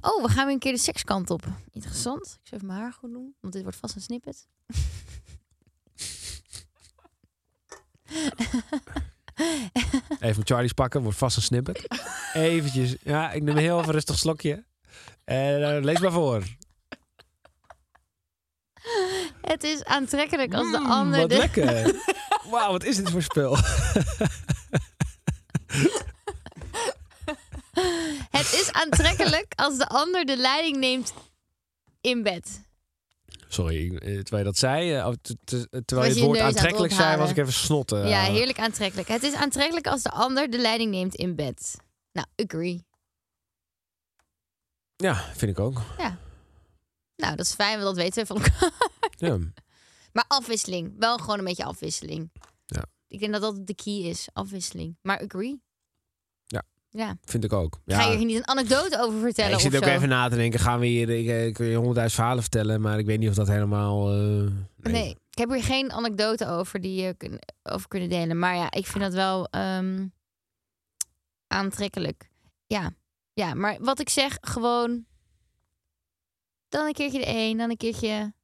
Speaker 3: Oh, we gaan weer een keer de sekskant op. Interessant. Ik zal even mijn haar goed doen, want dit wordt vast een snippet.
Speaker 2: Even Charlie's pakken, wordt vast een snippet. Eventjes. Ja, ik neem een heel even rustig slokje. En eh, lees maar voor.
Speaker 3: Het is aantrekkelijk als de
Speaker 2: Mm,
Speaker 3: ander
Speaker 2: wat
Speaker 3: de...
Speaker 2: lekker. Wauw, wat is dit voor spul?
Speaker 3: Het is aantrekkelijk als de ander de leiding neemt in bed.
Speaker 2: Sorry, eh, terwijl je dat zei, eh, oh, te- te- terwijl
Speaker 3: je
Speaker 2: je het
Speaker 3: je
Speaker 2: woord
Speaker 3: neus aan het
Speaker 2: aantrekkelijk zei,
Speaker 3: ophalen.
Speaker 2: was ik even snotten.
Speaker 3: Ja, heerlijk aantrekkelijk. Het is aantrekkelijk als de ander de leiding neemt in bed. Nou, agree.
Speaker 2: Ja, vind ik ook.
Speaker 3: Nou, dat is fijn, want dat weten we van elkaar.
Speaker 2: Ja.
Speaker 3: Maar afwisseling. Wel gewoon een beetje afwisseling.
Speaker 2: Ja.
Speaker 3: Ik denk dat dat de key is. Afwisseling. Maar agree.
Speaker 2: Ja.
Speaker 3: Ja.
Speaker 2: Vind ik ook. Ja.
Speaker 3: Ga je hier niet een anekdote over
Speaker 2: Ja,
Speaker 3: vertellen
Speaker 2: ik zit
Speaker 3: of
Speaker 2: ook
Speaker 3: zo?
Speaker 2: even na te denken, gaan we hier... Ik, eh, ik kun je honderdduizend verhalen vertellen, maar ik weet niet of dat helemaal... eh,
Speaker 3: nee. ik heb hier geen anekdote over die je kun- over kunnen delen. Maar ja, ik vind dat wel ehm, aantrekkelijk. Ja. ja, maar wat ik zeg, gewoon dan een keertje de een, dan een keertje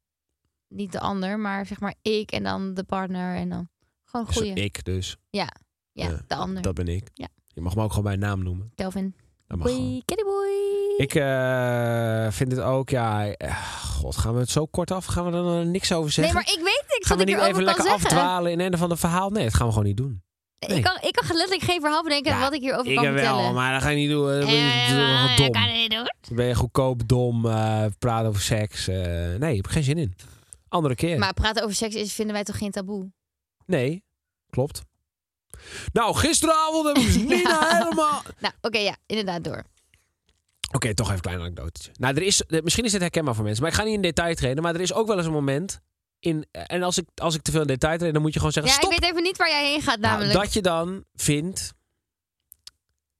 Speaker 3: niet de ander, maar zeg maar ik en dan de partner en dan gewoon
Speaker 2: Zo-
Speaker 3: goeie.
Speaker 2: Ik dus.
Speaker 3: Ja,
Speaker 2: ja,
Speaker 3: de ander.
Speaker 2: Dat ben ik.
Speaker 3: Ja.
Speaker 2: Je mag me ook gewoon bij naam noemen.
Speaker 3: Kelvin.
Speaker 2: Dat mag gewoon.
Speaker 3: Boei, kittyboy.
Speaker 2: Ik eh, vind het ook, ja... eh, God, gaan we het zo kort af? Gaan we er dan niks over
Speaker 3: Nee,
Speaker 2: zeggen?
Speaker 3: maar ik weet niks
Speaker 2: gaan
Speaker 3: wat
Speaker 2: we
Speaker 3: ik
Speaker 2: niet
Speaker 3: erover kan
Speaker 2: even lekker
Speaker 3: zeggen.
Speaker 2: afdwalen in een of ander verhaal? Nee, dat gaan we gewoon niet doen. nee.
Speaker 3: Ik, kan, ik kan letterlijk geen verhaal bedenken
Speaker 2: Ja,
Speaker 3: wat ik hierover kan vertellen.
Speaker 2: maar dat ga je niet doen. Dat
Speaker 3: Eh, maar,
Speaker 2: dom.
Speaker 3: ik kan het niet doen.
Speaker 2: Dan ben je goedkoop, dom, eh, praat over seks. eh, nee, ik heb er geen zin in. Andere keer.
Speaker 3: Maar praten over seks is, vinden wij toch geen taboe?
Speaker 2: Nee, klopt. Nou, gisteravond hebben we ze niet
Speaker 3: Ja.
Speaker 2: helemaal... Oké,
Speaker 3: Nou, oké, ja, inderdaad, door.
Speaker 2: toch even een klein anekdotetje. Nou, er is, eh, misschien is het herkenbaar voor mensen, maar ik ga niet in detail treden. Maar er is ook wel eens een moment... In, eh, en als ik, als ik te veel in detail treed, dan moet je gewoon zeggen...
Speaker 3: Ja, ik
Speaker 2: stop!
Speaker 3: weet even niet waar jij heen gaat,
Speaker 2: Nou,
Speaker 3: namelijk.
Speaker 2: dat je dan vindt...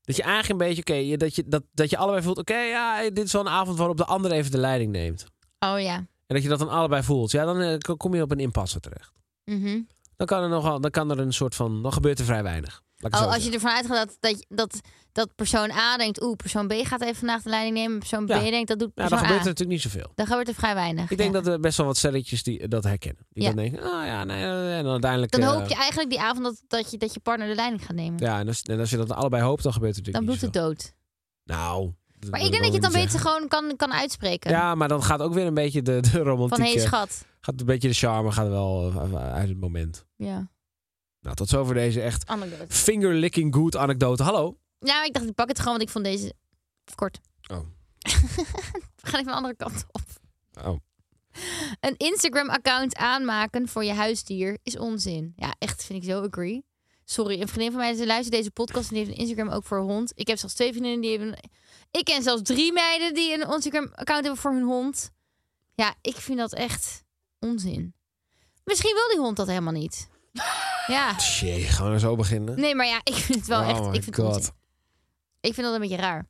Speaker 2: Dat je eigenlijk een beetje, oké, je- dat, je, dat, dat je allebei voelt, oké, ja, dit is wel een avond waarop de ander even de leiding neemt.
Speaker 3: Oh ja.
Speaker 2: En dat je dat dan allebei voelt. Ja, dan eh, kom je op een impasse terecht.
Speaker 3: Mhm.
Speaker 2: Dan kan er nogal, dan kan er een soort van, dan gebeurt er vrij weinig. Laat ik het zo
Speaker 3: Oh, als
Speaker 2: zeggen.
Speaker 3: je ervan uitgaat dat, dat, dat, dat persoon A denkt, oeh, persoon B gaat even vandaag de leiding nemen. Persoon
Speaker 2: Ja.
Speaker 3: B denkt, dat doet
Speaker 2: Ja,
Speaker 3: persoon
Speaker 2: dan gebeurt
Speaker 3: A.
Speaker 2: er natuurlijk niet zoveel.
Speaker 3: Dan gebeurt er vrij weinig.
Speaker 2: Ik denk
Speaker 3: ja.
Speaker 2: dat er best wel wat stelletjes die dat herkennen. Die
Speaker 3: Ja.
Speaker 2: dan denken, ah ja, nee, eh, en dan uiteindelijk...
Speaker 3: Dan
Speaker 2: eh,
Speaker 3: hoop je eigenlijk die avond dat, dat, je, dat je partner de leiding gaat nemen.
Speaker 2: Ja, en als, en als je dat allebei hoopt, dan gebeurt er
Speaker 3: dan
Speaker 2: natuurlijk
Speaker 3: bloedt het
Speaker 2: niet
Speaker 3: dood.
Speaker 2: zoveel. Nou... dat
Speaker 3: Maar
Speaker 2: wil
Speaker 3: ik denk dat je het
Speaker 2: wel
Speaker 3: dan beter
Speaker 2: niet zeggen.
Speaker 3: gewoon kan, kan uitspreken.
Speaker 2: Ja, maar dan gaat ook weer een beetje de, de romantiek...
Speaker 3: Van, hé
Speaker 2: eh,
Speaker 3: schat.
Speaker 2: gaat een beetje de charme gaat wel eh, uit het moment.
Speaker 3: Ja,
Speaker 2: Nou, tot zover deze echt
Speaker 3: anekdote.
Speaker 2: finger-licking good anekdote. Hallo.
Speaker 3: Nou, ik dacht, ik pak het gewoon, want ik vond deze kort.
Speaker 2: Oh.
Speaker 3: We gaan even de andere kant op.
Speaker 2: Oh,
Speaker 3: Een Instagram-account aanmaken voor je huisdier is onzin. Ja, echt vind ik zo agree. Sorry, een vriendin van mij ze luistert deze podcast en die heeft een Instagram ook voor haar hond. Ik heb zelfs twee vriendinnen die hebben... Ik ken zelfs drie meiden die een Instagram-account hebben voor hun hond. Ja, ik vind dat echt onzin. Misschien wil die hond dat helemaal niet. Ja,
Speaker 2: jee, gaan we nou zo beginnen?
Speaker 3: nee, maar ja, ik vind het wel
Speaker 2: Oh
Speaker 3: echt...
Speaker 2: my
Speaker 3: Ik vind, het
Speaker 2: God.
Speaker 3: onzin. ik vind dat een beetje raar.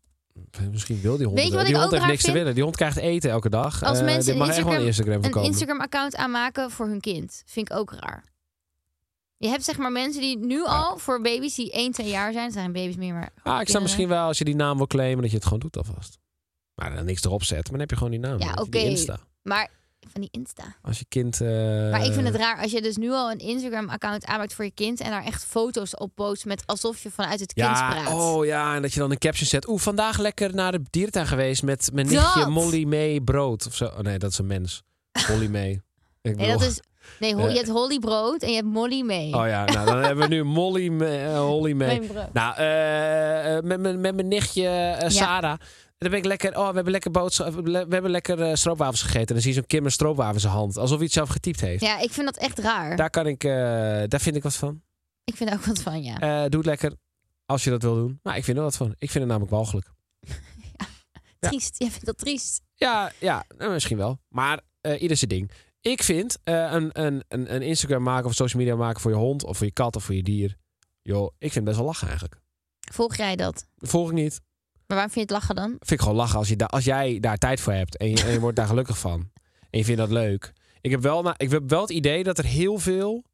Speaker 2: Misschien wil die hond
Speaker 3: Weet je
Speaker 2: het
Speaker 3: wat ik
Speaker 2: wel. Die hond
Speaker 3: ook
Speaker 2: heeft
Speaker 3: raar
Speaker 2: niks te
Speaker 3: vind?
Speaker 2: willen. Die hond krijgt eten elke dag.
Speaker 3: Als
Speaker 2: Eh,
Speaker 3: mensen
Speaker 2: dit
Speaker 3: een
Speaker 2: mag echt wel een Instagram
Speaker 3: een
Speaker 2: voorkomen.
Speaker 3: Instagram-account aanmaken voor hun kind. Vind ik ook raar. Je hebt zeg maar mensen die nu al voor baby's die 1, 2 jaar zijn. Het zijn geen baby's meer, maar...
Speaker 2: Ah, ik snap
Speaker 3: kinderen.
Speaker 2: misschien wel, als je die naam wil claimen, dat je het gewoon doet alvast. Maar dan niks erop zet, maar dan heb je gewoon die naam.
Speaker 3: Ja,
Speaker 2: Dan heb je
Speaker 3: oké.
Speaker 2: Die Insta.
Speaker 3: Maar van die Insta.
Speaker 2: Als je kind... eh,
Speaker 3: Maar ik vind het raar als je dus nu al een Instagram-account aanmaakt voor je kind... en daar echt foto's op post met alsof je vanuit het kind
Speaker 2: ja,
Speaker 3: praat.
Speaker 2: oh ja, en dat je dan een caption zet. Oeh, vandaag lekker naar de dierentuin geweest met mijn nichtje
Speaker 3: Dat!
Speaker 2: Molly May Brood. Of zo. Oh, nee, dat is een mens. Molly May. Ik
Speaker 3: Nee,
Speaker 2: bedoel-
Speaker 3: dat is... Nee, ho-
Speaker 2: Eh.
Speaker 3: je hebt Holly Brood en je hebt Molly mee.
Speaker 2: Oh ja, nou, dan hebben we nu Molly May, eh, Holly May.
Speaker 3: Mijn brood.
Speaker 2: Nou, eh, eh, met, mijn- met mijn nichtje eh, Sarah. Dan ben ik lekker. Oh, we hebben lekker, boodschap, we hebben lekker eh, stroopwafels gegeten. En dan zie je zo'n Kim een stroopwafel in zijn hand. Alsof hij het zelf getypt heeft.
Speaker 3: Ja, ik vind dat echt raar.
Speaker 2: Daar, kan ik, eh, daar vind ik wat van.
Speaker 3: Ik vind daar ook wat van, ja.
Speaker 2: Eh, doe het lekker als je dat wil doen. Maar ik vind er wat van. Ik vind het namelijk walgelijk. ja.
Speaker 3: Triest. Jij vindt dat triest.
Speaker 2: Ja, ja nou, misschien wel. Maar eh, ieder zijn ding. Ik vind eh, een, een, een, een Instagram maken of social media maken voor je hond of voor je kat of voor je dier. Joh, ik vind het best wel lachen eigenlijk.
Speaker 3: Volg jij dat?
Speaker 2: Volg ik niet.
Speaker 3: Maar waarom vind je het lachen dan?
Speaker 2: vind ik gewoon lachen als, je da- als jij daar tijd voor hebt en je, en je wordt daar gelukkig van. En je vindt dat leuk. Ik heb wel, na- ik heb wel het idee dat er heel veel,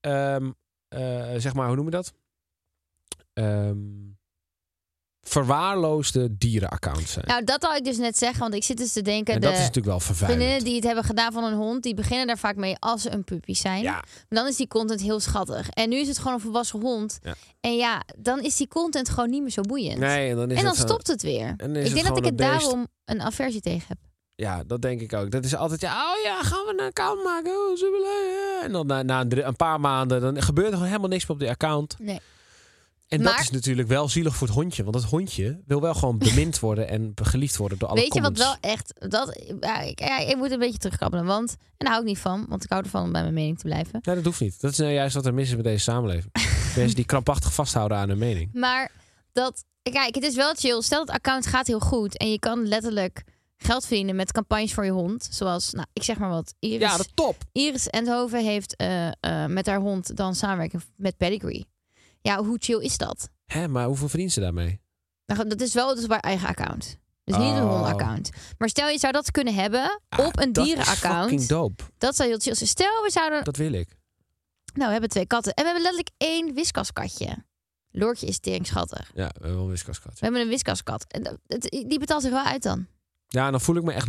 Speaker 2: ehm, eh, zeg maar, hoe noem je dat? Ehm, verwaarloosde dierenaccounts zijn.
Speaker 3: Nou, dat wil ik dus net zeggen, want ik zit dus te denken...
Speaker 2: en
Speaker 3: de
Speaker 2: dat is natuurlijk wel
Speaker 3: vriendinnen
Speaker 2: vervuilend.
Speaker 3: die het hebben gedaan van een hond... die beginnen daar vaak mee als ze een puppy zijn.
Speaker 2: Ja,
Speaker 3: Dan is die content heel schattig. En nu is het gewoon een volwassen hond.
Speaker 2: Ja.
Speaker 3: En ja, dan is die content gewoon niet meer zo boeiend.
Speaker 2: nee, en dan is
Speaker 3: en dan
Speaker 2: het zo-
Speaker 3: stopt het weer.
Speaker 2: dan is
Speaker 3: ik
Speaker 2: het
Speaker 3: denk dat ik
Speaker 2: gewoon
Speaker 3: het
Speaker 2: een beest.
Speaker 3: daarom een aversie tegen heb.
Speaker 2: Ja, dat denk ik ook. Dat is altijd, ja, oh ja, gaan we een account maken? Oh, superleuk. ja. En dan na, na een, drie- een paar maanden, dan gebeurt er gewoon helemaal niks meer op die account.
Speaker 3: Nee.
Speaker 2: En dat
Speaker 3: Maar-
Speaker 2: is natuurlijk wel zielig voor het hondje. Want het hondje wil wel gewoon bemind worden en geliefd worden door alle
Speaker 3: Weet je wat
Speaker 2: comments.
Speaker 3: wel echt... Dat, ja, ik, ja, ik moet een beetje terugkrabbelen, want... En daar hou ik niet van, want ik hou ervan om bij mijn mening te blijven.
Speaker 2: Nee, dat hoeft niet. Dat is nou juist wat er mis is met deze samenleving. Mensen die krampachtig vasthouden aan hun mening.
Speaker 3: Maar dat... Kijk, het is wel chill. Stel dat het account gaat heel goed en je kan letterlijk geld verdienen met campagnes voor je hond. Zoals, nou, ik zeg maar wat, Iris,
Speaker 2: Ja, dat top.
Speaker 3: Iris Endhoven heeft eh, eh, met haar hond dan samenwerking met Pedigree. Ja, hoe chill is dat?
Speaker 2: Hè, maar hoeveel verdienen ze daarmee?
Speaker 3: Nou, goed, dat is wel dus bij eigen account. Dus niet een
Speaker 2: Oh. Ah,
Speaker 3: hondenaccount. Maar stel je zou dat kunnen hebben op een
Speaker 2: Dat is
Speaker 3: dierenaccount.
Speaker 2: fucking dope.
Speaker 3: Dat zou heel chill zijn. Stel we zouden
Speaker 2: Dat wil ik.
Speaker 3: Nou, we hebben twee katten. En we hebben letterlijk één wiskaskatje. Loortje is teringschattig.
Speaker 2: Ja, we hebben wel een wiskaskat.
Speaker 3: We hebben een wiskaskat. En dat- het- Die betaalt zich wel uit dan.
Speaker 2: Ja, en dan voel ik me echt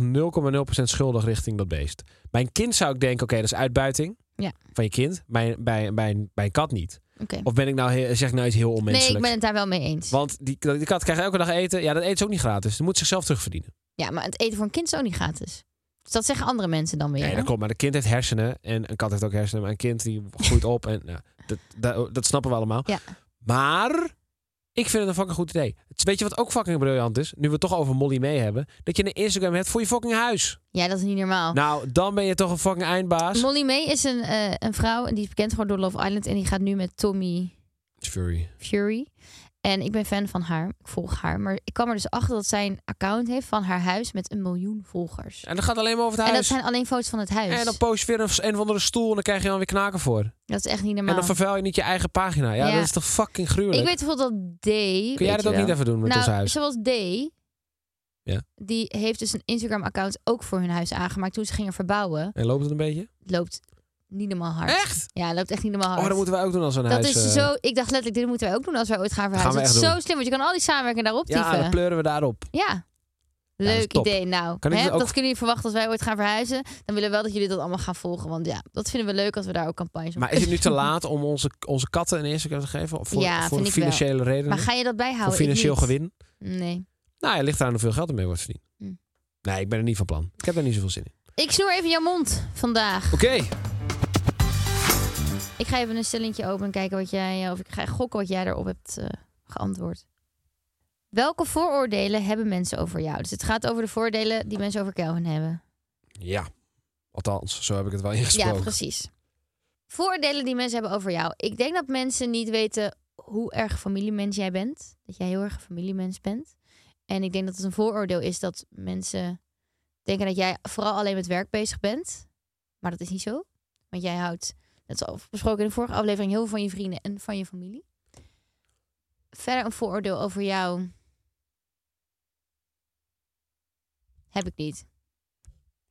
Speaker 2: 0,0% schuldig richting dat beest. Bij een kind zou ik denken, oké, dat is uitbuiting
Speaker 3: Ja.
Speaker 2: van je kind. Bij, bij, bij, een- bij een kat niet.
Speaker 3: Oké.
Speaker 2: Of ben ik nou, heel- zeg ik nou iets heel
Speaker 3: Nee,
Speaker 2: onmenselijks?
Speaker 3: ik ben het daar wel mee eens.
Speaker 2: Want die, die kat krijgt elke dag eten. Ja, dat eet ze ook niet gratis. Die moet zichzelf terugverdienen.
Speaker 3: Ja, maar het eten voor een kind is ook niet gratis. Dus dat zeggen andere mensen dan weer.
Speaker 2: Nee, dat klopt. Maar een kind heeft hersenen. En een kat heeft ook hersenen. Maar een kind die groeit op. En, nou, dat, dat, dat snappen we allemaal.
Speaker 3: Ja.
Speaker 2: Maar ik vind het een fucking goed idee. Het is, weet je wat ook fucking briljant is? Nu we het toch over Molly mee hebben. Dat je een Instagram hebt voor je fucking huis.
Speaker 3: Ja, dat is niet normaal.
Speaker 2: Nou, dan ben je toch een fucking eindbaas.
Speaker 3: Molly May is een, eh, een vrouw en die is bekend geworden door Love Island. En die gaat nu met Tommy
Speaker 2: Fury.
Speaker 3: Fury. En ik ben fan van haar. Ik volg haar. Maar ik kwam er dus achter dat zij een account heeft van haar huis met een miljoen volgers.
Speaker 2: En dat gaat alleen maar over het
Speaker 3: En dat
Speaker 2: huis.
Speaker 3: zijn alleen foto's van het huis.
Speaker 2: En dan post je weer een, een of andere stoel en dan krijg je dan weer knaken voor.
Speaker 3: Dat is echt niet normaal.
Speaker 2: En dan vervuil je niet je eigen pagina. Ja,
Speaker 3: Ja.
Speaker 2: dat is toch fucking gruwelijk.
Speaker 3: Ik weet bijvoorbeeld dat D.
Speaker 2: Kun jij dat ook niet even doen met
Speaker 3: nou,
Speaker 2: ons huis?
Speaker 3: Zoals D.
Speaker 2: Ja.
Speaker 3: Die heeft dus een Instagram-account ook voor hun huis aangemaakt toen ze gingen verbouwen.
Speaker 2: En loopt het een beetje?
Speaker 3: Het loopt niet normaal hard.
Speaker 2: Echt?
Speaker 3: Ja, het loopt echt niet normaal hard.
Speaker 2: Oh, dat moeten wij ook doen als we een
Speaker 3: Dat
Speaker 2: huis...
Speaker 3: is
Speaker 2: eh,
Speaker 3: zo. Ik dacht letterlijk, dit moeten wij ook doen als wij ooit gaan verhuizen.
Speaker 2: we
Speaker 3: dat is
Speaker 2: echt
Speaker 3: zo slim, want je kan al die samenwerking daarop
Speaker 2: Ja, dan
Speaker 3: typen.
Speaker 2: pleuren we daarop.
Speaker 3: ja.
Speaker 2: dat is
Speaker 3: Leuk
Speaker 2: top.
Speaker 3: idee. Nou,
Speaker 2: Kan ik
Speaker 3: hè,
Speaker 2: dit ook-
Speaker 3: dat kunnen jullie verwachten als wij ooit gaan verhuizen. Dan willen we wel dat jullie dat allemaal gaan volgen. Want ja, dat vinden we leuk als we daar ook campagnes op
Speaker 2: Maar is het nu te laat om onze, onze katten een Instagram te geven? Of Voor,
Speaker 3: Ja,
Speaker 2: voor
Speaker 3: vind ik
Speaker 2: financiële redenen?
Speaker 3: Maar ga je dat
Speaker 2: voor
Speaker 3: bijhouden? Ik
Speaker 2: financieel
Speaker 3: niet.
Speaker 2: gewin?
Speaker 3: Nee.
Speaker 2: Nou, ja, ligt eraan hoeveel geld ermee wordt verdiend.
Speaker 3: Hm.
Speaker 2: Nee, ik ben er niet van plan. Ik heb er niet zoveel zin in.
Speaker 3: Ik snoer even jouw mond vandaag.
Speaker 2: Oké.
Speaker 3: Ik ga even een stellingje open en kijken wat jij, eh, of ik ga gokken wat jij daarop hebt eh, geantwoord. Welke vooroordelen hebben mensen over jou? Dus het gaat over de voordelen die mensen over Kelvin hebben.
Speaker 2: Ja. Althans, zo heb ik het wel ingesproken.
Speaker 3: Ja, precies. Vooroordelen die mensen hebben over jou. Ik denk dat mensen niet weten hoe erg een familiemens jij bent. Dat jij heel erg een familiemens bent. En ik denk dat het een vooroordeel is dat mensen denken dat jij vooral alleen met werk bezig bent. Maar dat is niet zo. Want jij houdt, net al besproken in de vorige aflevering, heel veel van je vrienden en van je familie. Verder een vooroordeel over jou. Heb ik niet.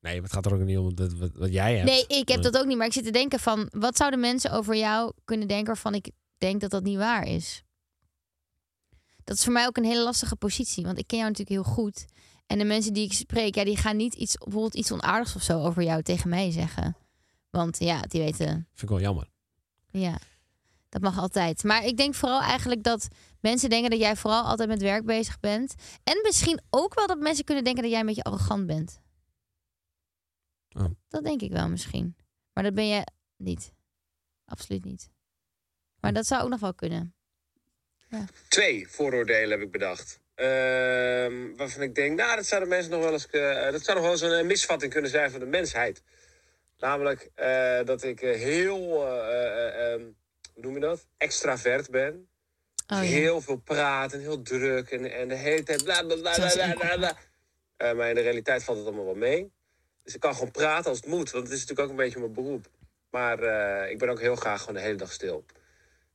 Speaker 2: Nee, maar het gaat er ook niet om dat, wat, wat jij hebt.
Speaker 3: Nee, ik heb dat ook niet. Maar ik zit te denken van... wat zouden mensen over jou kunnen denken... waarvan ik denk dat dat niet waar is? Dat is voor mij ook een hele lastige positie. Want ik ken jou natuurlijk heel goed. En de mensen die ik spreek... Ja, die gaan niet iets, bijvoorbeeld iets onaardigs of zo... over jou tegen mij zeggen. Want ja, die weten...
Speaker 2: Vind ik wel jammer.
Speaker 3: Ja, dat mag altijd. Maar ik denk vooral eigenlijk dat mensen denken... dat jij vooral altijd met werk bezig bent. En misschien ook wel dat mensen kunnen denken... dat jij een beetje arrogant bent.
Speaker 2: Oh.
Speaker 3: Dat denk ik wel misschien. Maar dat ben je niet. Absoluut niet.
Speaker 5: Hm.
Speaker 3: Maar dat zou ook nog wel kunnen.
Speaker 5: twee vooroordelen heb ik bedacht. Ehm, waarvan ik denk, nou, dat zou de mensen nog wel eens, eh, dat zou nog wel eens een eh, misvatting kunnen zijn van de mensheid. Namelijk eh, dat ik eh, heel, eh, eh, ehm, hoe noem je dat? Extravert ben. Dus
Speaker 3: Oh, ja.
Speaker 5: Heel veel praten, heel druk en, en de hele tijd bla bla bla bla
Speaker 3: Zelfs
Speaker 5: bla
Speaker 3: inkomen.
Speaker 5: bla. bla. Eh, maar in de realiteit valt het allemaal wel mee. Dus ik kan gewoon praten als het moet, want het is natuurlijk ook een beetje mijn beroep. Maar eh, ik ben ook heel graag gewoon de hele dag stil.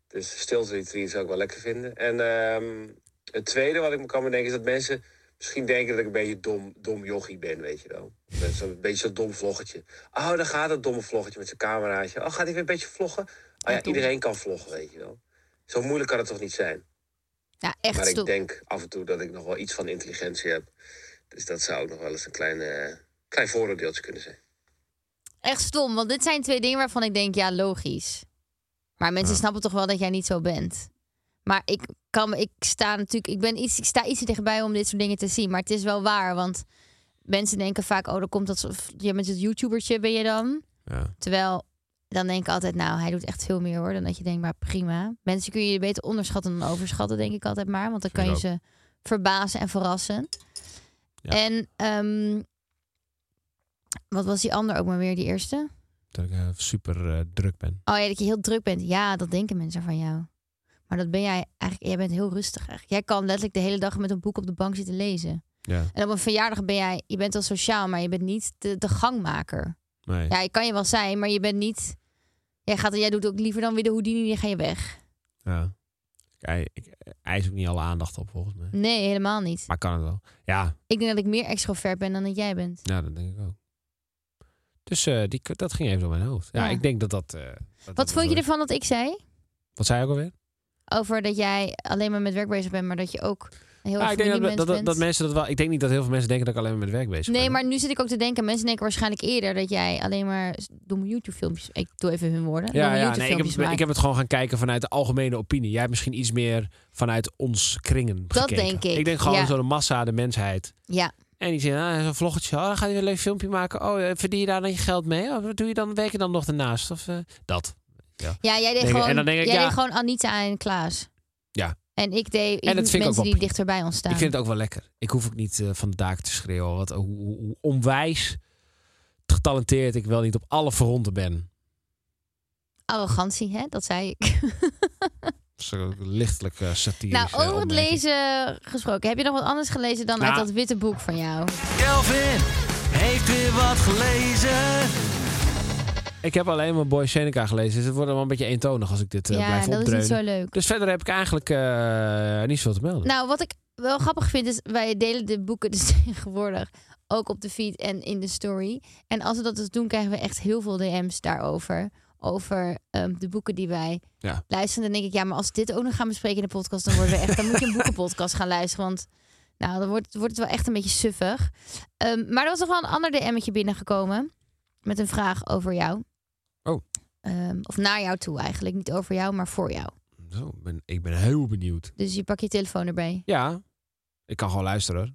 Speaker 5: Dus stilte retreat zou ik wel lekker vinden. En ehm, het tweede wat ik me kan bedenken is dat mensen misschien denken dat ik een beetje dom, dom jochie ben, weet je wel. Dat is Een beetje zo'n dom vloggetje. Oh, daar gaat dat domme vloggetje met zijn cameraatje. Oh, gaat hij weer een beetje vloggen? Oh
Speaker 3: Ja,
Speaker 5: ja,
Speaker 3: dom.
Speaker 5: iedereen kan vloggen, weet je wel. Zo moeilijk kan het toch niet zijn?
Speaker 3: ja, echt
Speaker 5: Maar ik
Speaker 3: stoer.
Speaker 5: denk af en toe dat ik nog wel iets van intelligentie heb. Dus dat zou ook nog wel eens een klein, eh, klein vooroordeeltje kunnen zijn.
Speaker 3: Echt stom, want dit zijn twee dingen waarvan ik denk, ja, logisch. Maar mensen snappen toch wel dat jij niet zo bent. Maar ik kan, me- ik sta natuurlijk, ik ben iets, ik sta iets te dichtbij om dit soort dingen te zien. Maar het is wel waar, want mensen denken vaak, oh, dan komt dat, zo- je bent het YouTubertje, ben je dan?
Speaker 2: Ja.
Speaker 3: Terwijl, dan denk ik altijd, nou, hij doet echt veel meer hoor, dan dat je denkt, maar prima. Mensen kun je beter onderschatten dan overschatten, denk ik altijd maar. Want dan kan
Speaker 2: Vind
Speaker 3: je
Speaker 2: ik
Speaker 3: ze verbazen en verrassen.
Speaker 2: Ja.
Speaker 3: En, ehm, wat was die ander ook maar weer, die eerste?
Speaker 2: Dat ik eh, super eh, druk ben.
Speaker 3: Oh ja, dat je heel druk bent. Ja, dat denken mensen van jou. Maar dat ben jij eigenlijk, jij bent heel rustig eigenlijk. Jij kan letterlijk de hele dag met een boek op de bank zitten lezen.
Speaker 2: Ja,
Speaker 3: En op een verjaardag ben jij, je bent wel sociaal, maar je bent niet de, de gangmaker.
Speaker 2: nee.
Speaker 3: Ja, je kan je wel zijn, maar je bent niet, jij, gaat, jij doet ook liever dan weer de Houdini, dan ga je weg.
Speaker 2: Ja. Ik, ik, ik eis ook niet alle aandacht op, volgens mij.
Speaker 3: Nee, helemaal niet.
Speaker 2: Maar kan het wel. Ja,
Speaker 3: Ik denk dat ik meer extrovert ben dan dat jij bent.
Speaker 2: ja dat denk ik ook. Dus eh, die, dat ging even door mijn hoofd. Ja,
Speaker 3: Ja.
Speaker 2: ik denk dat dat... eh, dat dat
Speaker 3: Wat
Speaker 2: wel
Speaker 3: vond
Speaker 2: zo
Speaker 3: je
Speaker 2: is.
Speaker 3: ervan dat ik zei?
Speaker 2: Wat zei je ook alweer?
Speaker 3: Over dat jij alleen maar met werk bezig bent, maar dat je ook een heel
Speaker 2: Ja,
Speaker 3: erg
Speaker 2: ik denk dat,
Speaker 3: familiemens
Speaker 2: dat, dat,
Speaker 3: bent.
Speaker 2: dat mensen dat wel... Ik denk niet dat heel veel mensen denken dat ik alleen maar met werk bezig ben.
Speaker 3: Nee, maar nu zit ik ook te denken, mensen denken waarschijnlijk eerder dat jij alleen maar domme YouTube-filmpjes. Ik doe even hun woorden.
Speaker 2: Ja,
Speaker 3: domme
Speaker 2: ja nee, ik, heb,
Speaker 3: YouTube-filmpjes
Speaker 2: het- ik
Speaker 3: maakt.
Speaker 2: heb het gewoon gaan kijken vanuit de algemene opinie. Jij hebt misschien iets meer vanuit ons kringen gekeken.
Speaker 3: denk ik,
Speaker 2: Ik denk gewoon
Speaker 3: ja.
Speaker 2: zo de massa, de mensheid.
Speaker 3: Ja,
Speaker 2: En die zeggen, ah, zo'n vloggetje, oh, dan ga je weer een leuk filmpje maken. Oh, eh, verdien je daar dan je geld mee? Oh, wat doe je dan, werk je dan nog daarnaast? Of eh, dat.
Speaker 3: ja jij deed,
Speaker 2: Denk ik-
Speaker 3: gewoon,
Speaker 2: en dan denk ik,
Speaker 3: jij
Speaker 2: ja.
Speaker 3: deed gewoon Anita en Klaas.
Speaker 2: Ja.
Speaker 3: En ik deed
Speaker 2: En dat vind ik
Speaker 3: mensen
Speaker 2: ook wel
Speaker 3: die
Speaker 2: prima.
Speaker 3: dichterbij ons staan.
Speaker 2: Ik vind het ook wel lekker. Ik hoef ook niet eh, van de daak te schreeuwen. Wat, hoe, hoe- hoe onwijs getalenteerd ik wel niet op alle fronten ben.
Speaker 3: Arrogantie, hè? dat zei ik.
Speaker 2: Zo lichtelijk eh, satirisch.
Speaker 3: nou,
Speaker 2: eh,
Speaker 3: over het
Speaker 2: opmerking.
Speaker 3: lezen gesproken. Heb je nog wat anders gelezen dan
Speaker 2: Nou.
Speaker 3: uit dat witte boek van jou?
Speaker 6: Kelvin heeft weer wat gelezen.
Speaker 2: Ik heb alleen maar Boy Seneca gelezen. Dus het wordt wel een beetje eentonig als ik dit eh,
Speaker 3: ja,
Speaker 2: blijf
Speaker 3: dat is
Speaker 2: opdreunen.
Speaker 3: niet zo leuk.
Speaker 2: Dus verder heb ik eigenlijk eh, niet zoveel te melden.
Speaker 3: Nou, wat ik wel grappig vind is, wij delen de boeken dus tegenwoordig ook op de feed en in de story. En als we dat dus doen, krijgen we echt heel veel DM's daarover. Over ehm, de boeken die wij
Speaker 2: Ja.
Speaker 3: luisteren. Dan denk ik, ja, maar als we dit ook nog gaan bespreken in de podcast, dan worden we echt. Dan moet je een boekenpodcast gaan luisteren. Want nou, dan wordt, wordt het wel echt een beetje suffig. Ehm, maar er was nog wel een ander DM'tje binnengekomen. Met een vraag over jou.
Speaker 2: Oh.
Speaker 3: Ehm, of naar jou toe eigenlijk. Niet over jou, maar voor jou.
Speaker 2: Zo, ik ben, ik ben heel benieuwd.
Speaker 3: Dus je pak je telefoon erbij.
Speaker 2: Ja, ik kan gewoon luisteren. hoor.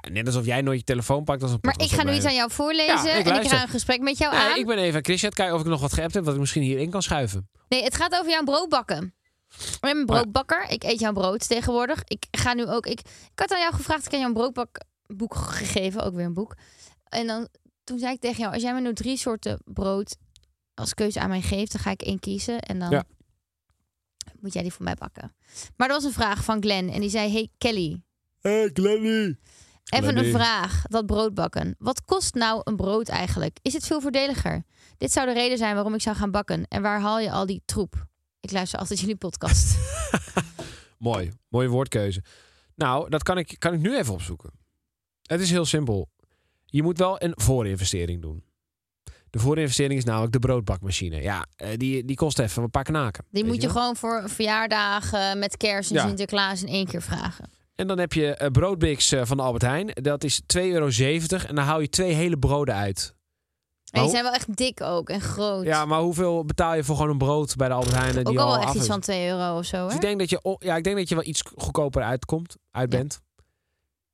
Speaker 2: Ja, net alsof jij nooit je telefoon pakt als een
Speaker 3: Maar ik ga nu iets aan jou voorlezen
Speaker 2: Ja, ik
Speaker 3: en ik
Speaker 2: luister.
Speaker 3: ga een gesprek met jou
Speaker 2: Nee,
Speaker 3: aan.
Speaker 2: ik ben even aan Christian aan het kijken of ik nog wat geappt heb... wat ik misschien hierin kan schuiven.
Speaker 3: Nee, het gaat over jouw broodbakken. Ik ben een broodbakker. Ik eet jouw brood tegenwoordig. Ik ga nu ook. Ik, ik had aan jou gevraagd. Ik heb jou een broodbakboek gegeven. Ook weer een boek. En dan, toen zei ik tegen jou: Als jij me nu drie soorten brood als keuze aan mij geeft, dan ga ik één kiezen. En dan
Speaker 2: Ja.
Speaker 3: moet jij die voor mij bakken. Maar er was een vraag van Glenn. En die zei: Hey Kelly,
Speaker 2: Hé, Glenny!
Speaker 3: Even
Speaker 2: Lenny.
Speaker 3: een vraag, dat broodbakken. Wat kost nou een brood eigenlijk? Is het veel voordeliger? Dit zou de reden zijn waarom ik zou gaan bakken. En waar haal je al die troep? Ik luister altijd jullie podcast.
Speaker 2: Mooi, mooie woordkeuze. Nou, dat kan ik, kan ik nu even opzoeken. Het is heel simpel. Je moet wel een voorinvestering doen. De voorinvestering is namelijk de broodbakmachine. Ja, eh, die, die kost even een paar knaken.
Speaker 3: Die
Speaker 2: weet
Speaker 3: moet
Speaker 2: je
Speaker 3: je
Speaker 2: wel.
Speaker 3: gewoon voor verjaardagen met kerst en
Speaker 2: Ja.
Speaker 3: Sinterklaas in één keer vragen.
Speaker 2: En dan heb je eh, broodbix eh, van de Albert Heijn. Dat is 2,70 euro. En daar hou je twee hele broden uit.
Speaker 3: En
Speaker 2: Oh.
Speaker 3: die zijn wel echt dik ook en groot.
Speaker 2: Ja, maar hoeveel betaal je voor gewoon een brood bij de Albert Heijn? eh,
Speaker 3: ook
Speaker 2: Die
Speaker 3: al
Speaker 2: al
Speaker 3: wel echt
Speaker 2: af
Speaker 3: iets
Speaker 2: is?
Speaker 3: van 2 euro of zo.
Speaker 2: Dus
Speaker 3: Hè?
Speaker 2: ik denk dat je, o- ja, ik denk dat je wel iets goedkoper uitkomt, uit
Speaker 3: Ja.
Speaker 2: bent.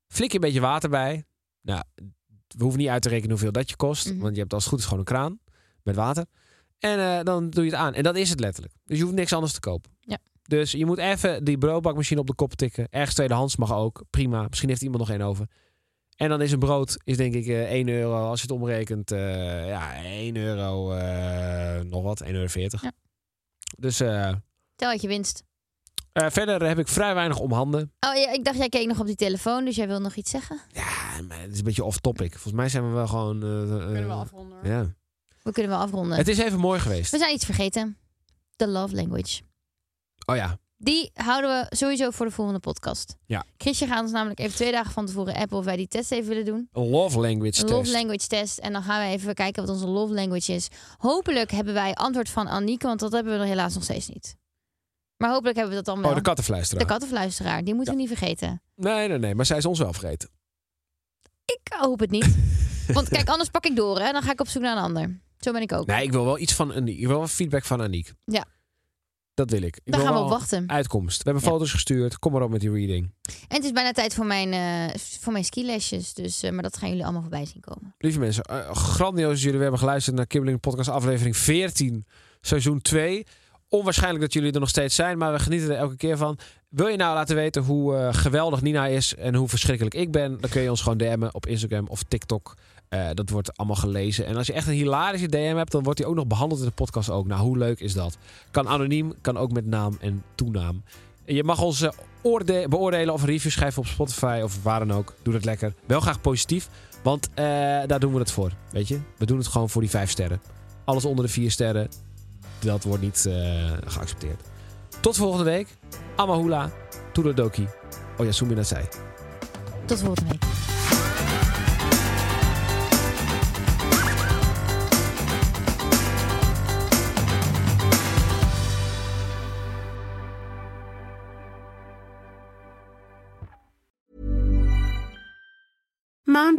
Speaker 2: Flik je een beetje water bij. Nou, we hoeven niet uit te rekenen hoeveel dat je kost.
Speaker 3: Mhm.
Speaker 2: Want je hebt als het goed is gewoon een kraan met water. En eh, dan doe je het aan. En dat is het letterlijk. Dus je hoeft niks anders te kopen.
Speaker 3: Ja.
Speaker 2: Dus je moet even die broodbakmachine op de kop tikken. Ergens tweedehands mag ook. Prima. Misschien heeft iemand nog één over. En dan is een brood, is denk ik eh 1 euro. Als je het omrekent, eh, ja, 1 euro eh, nog wat. 1,40 euro.
Speaker 3: Ja.
Speaker 2: Dus eh,
Speaker 3: Tel uit je winst.
Speaker 2: eh, verder heb ik vrij weinig om handen.
Speaker 3: Oh ja, ik dacht jij keek nog op die telefoon, dus jij wil nog iets zeggen?
Speaker 2: Ja, maar het is een beetje off-topic. Volgens mij zijn we wel gewoon... eh, eh,
Speaker 4: Kunnen we afronden. hoor.
Speaker 2: ja.
Speaker 3: We kunnen wel afronden.
Speaker 2: Het is even mooi geweest.
Speaker 3: We zijn iets vergeten. The love language.
Speaker 2: Oh ja,
Speaker 3: Die houden we sowieso voor de volgende podcast.
Speaker 2: Ja.
Speaker 3: Chrisje gaat ons namelijk even twee dagen van tevoren appen of wij die test even willen doen.
Speaker 2: een love language
Speaker 3: Een love
Speaker 2: test.
Speaker 3: language test. En dan gaan we even kijken wat onze love language is. Hopelijk hebben wij antwoord van Annieke, want dat hebben we helaas nog steeds niet. Maar hopelijk hebben we dat dan wel.
Speaker 2: oh, de kattenfluisteraar.
Speaker 3: de kattenfluisteraar, die moeten we niet vergeten.
Speaker 2: Nee, nee, nee. Maar zij is ons wel vergeten.
Speaker 3: Ik hoop het niet. want kijk, anders pak ik door hè. Dan ga ik op zoek naar een ander. Zo ben ik ook.
Speaker 2: Nee, ik wil wel iets van Aniek. Ik wil wel feedback van Aniek.
Speaker 3: Ja.
Speaker 2: Dat wil ik. ik
Speaker 3: Daar
Speaker 2: wil
Speaker 3: gaan we
Speaker 2: wel
Speaker 3: op wachten.
Speaker 2: Uitkomst. We hebben
Speaker 3: Ja.
Speaker 2: foto's gestuurd. Kom maar op met die reading.
Speaker 3: En het is bijna tijd voor mijn, eh, voor mijn skilesjes. Dus, eh, maar dat gaan jullie allemaal voorbij zien komen.
Speaker 2: Lieve mensen, eh, grandioos dat jullie weer hebben geluisterd naar Kibbeling Podcast aflevering 14, seizoen 2. Onwaarschijnlijk dat jullie er nog steeds zijn, maar we genieten er elke keer van. Wil je nou laten weten hoe eh, geweldig Nina is en hoe verschrikkelijk ik ben? Dan kun je ons gewoon DM'en op Instagram of TikTok. Eh, dat wordt allemaal gelezen. En als je echt een hilarische DM hebt, dan wordt die ook nog behandeld in de podcast ook. Nou, hoe leuk is dat? Kan anoniem, kan ook met naam en toenaam. En Je mag ons eh, oorde- beoordelen of een review schrijven op Spotify of waar dan ook. Doe dat lekker. Wel graag positief, want eh, daar doen we het voor. Weet je? We doen het gewoon voor die vijf sterren. Alles onder de vier sterren, dat wordt niet eh, geaccepteerd. Tot volgende week. Amahula, Toedodoki, Oyasumi Nasai.
Speaker 3: Tot volgende week.
Speaker 7: Mom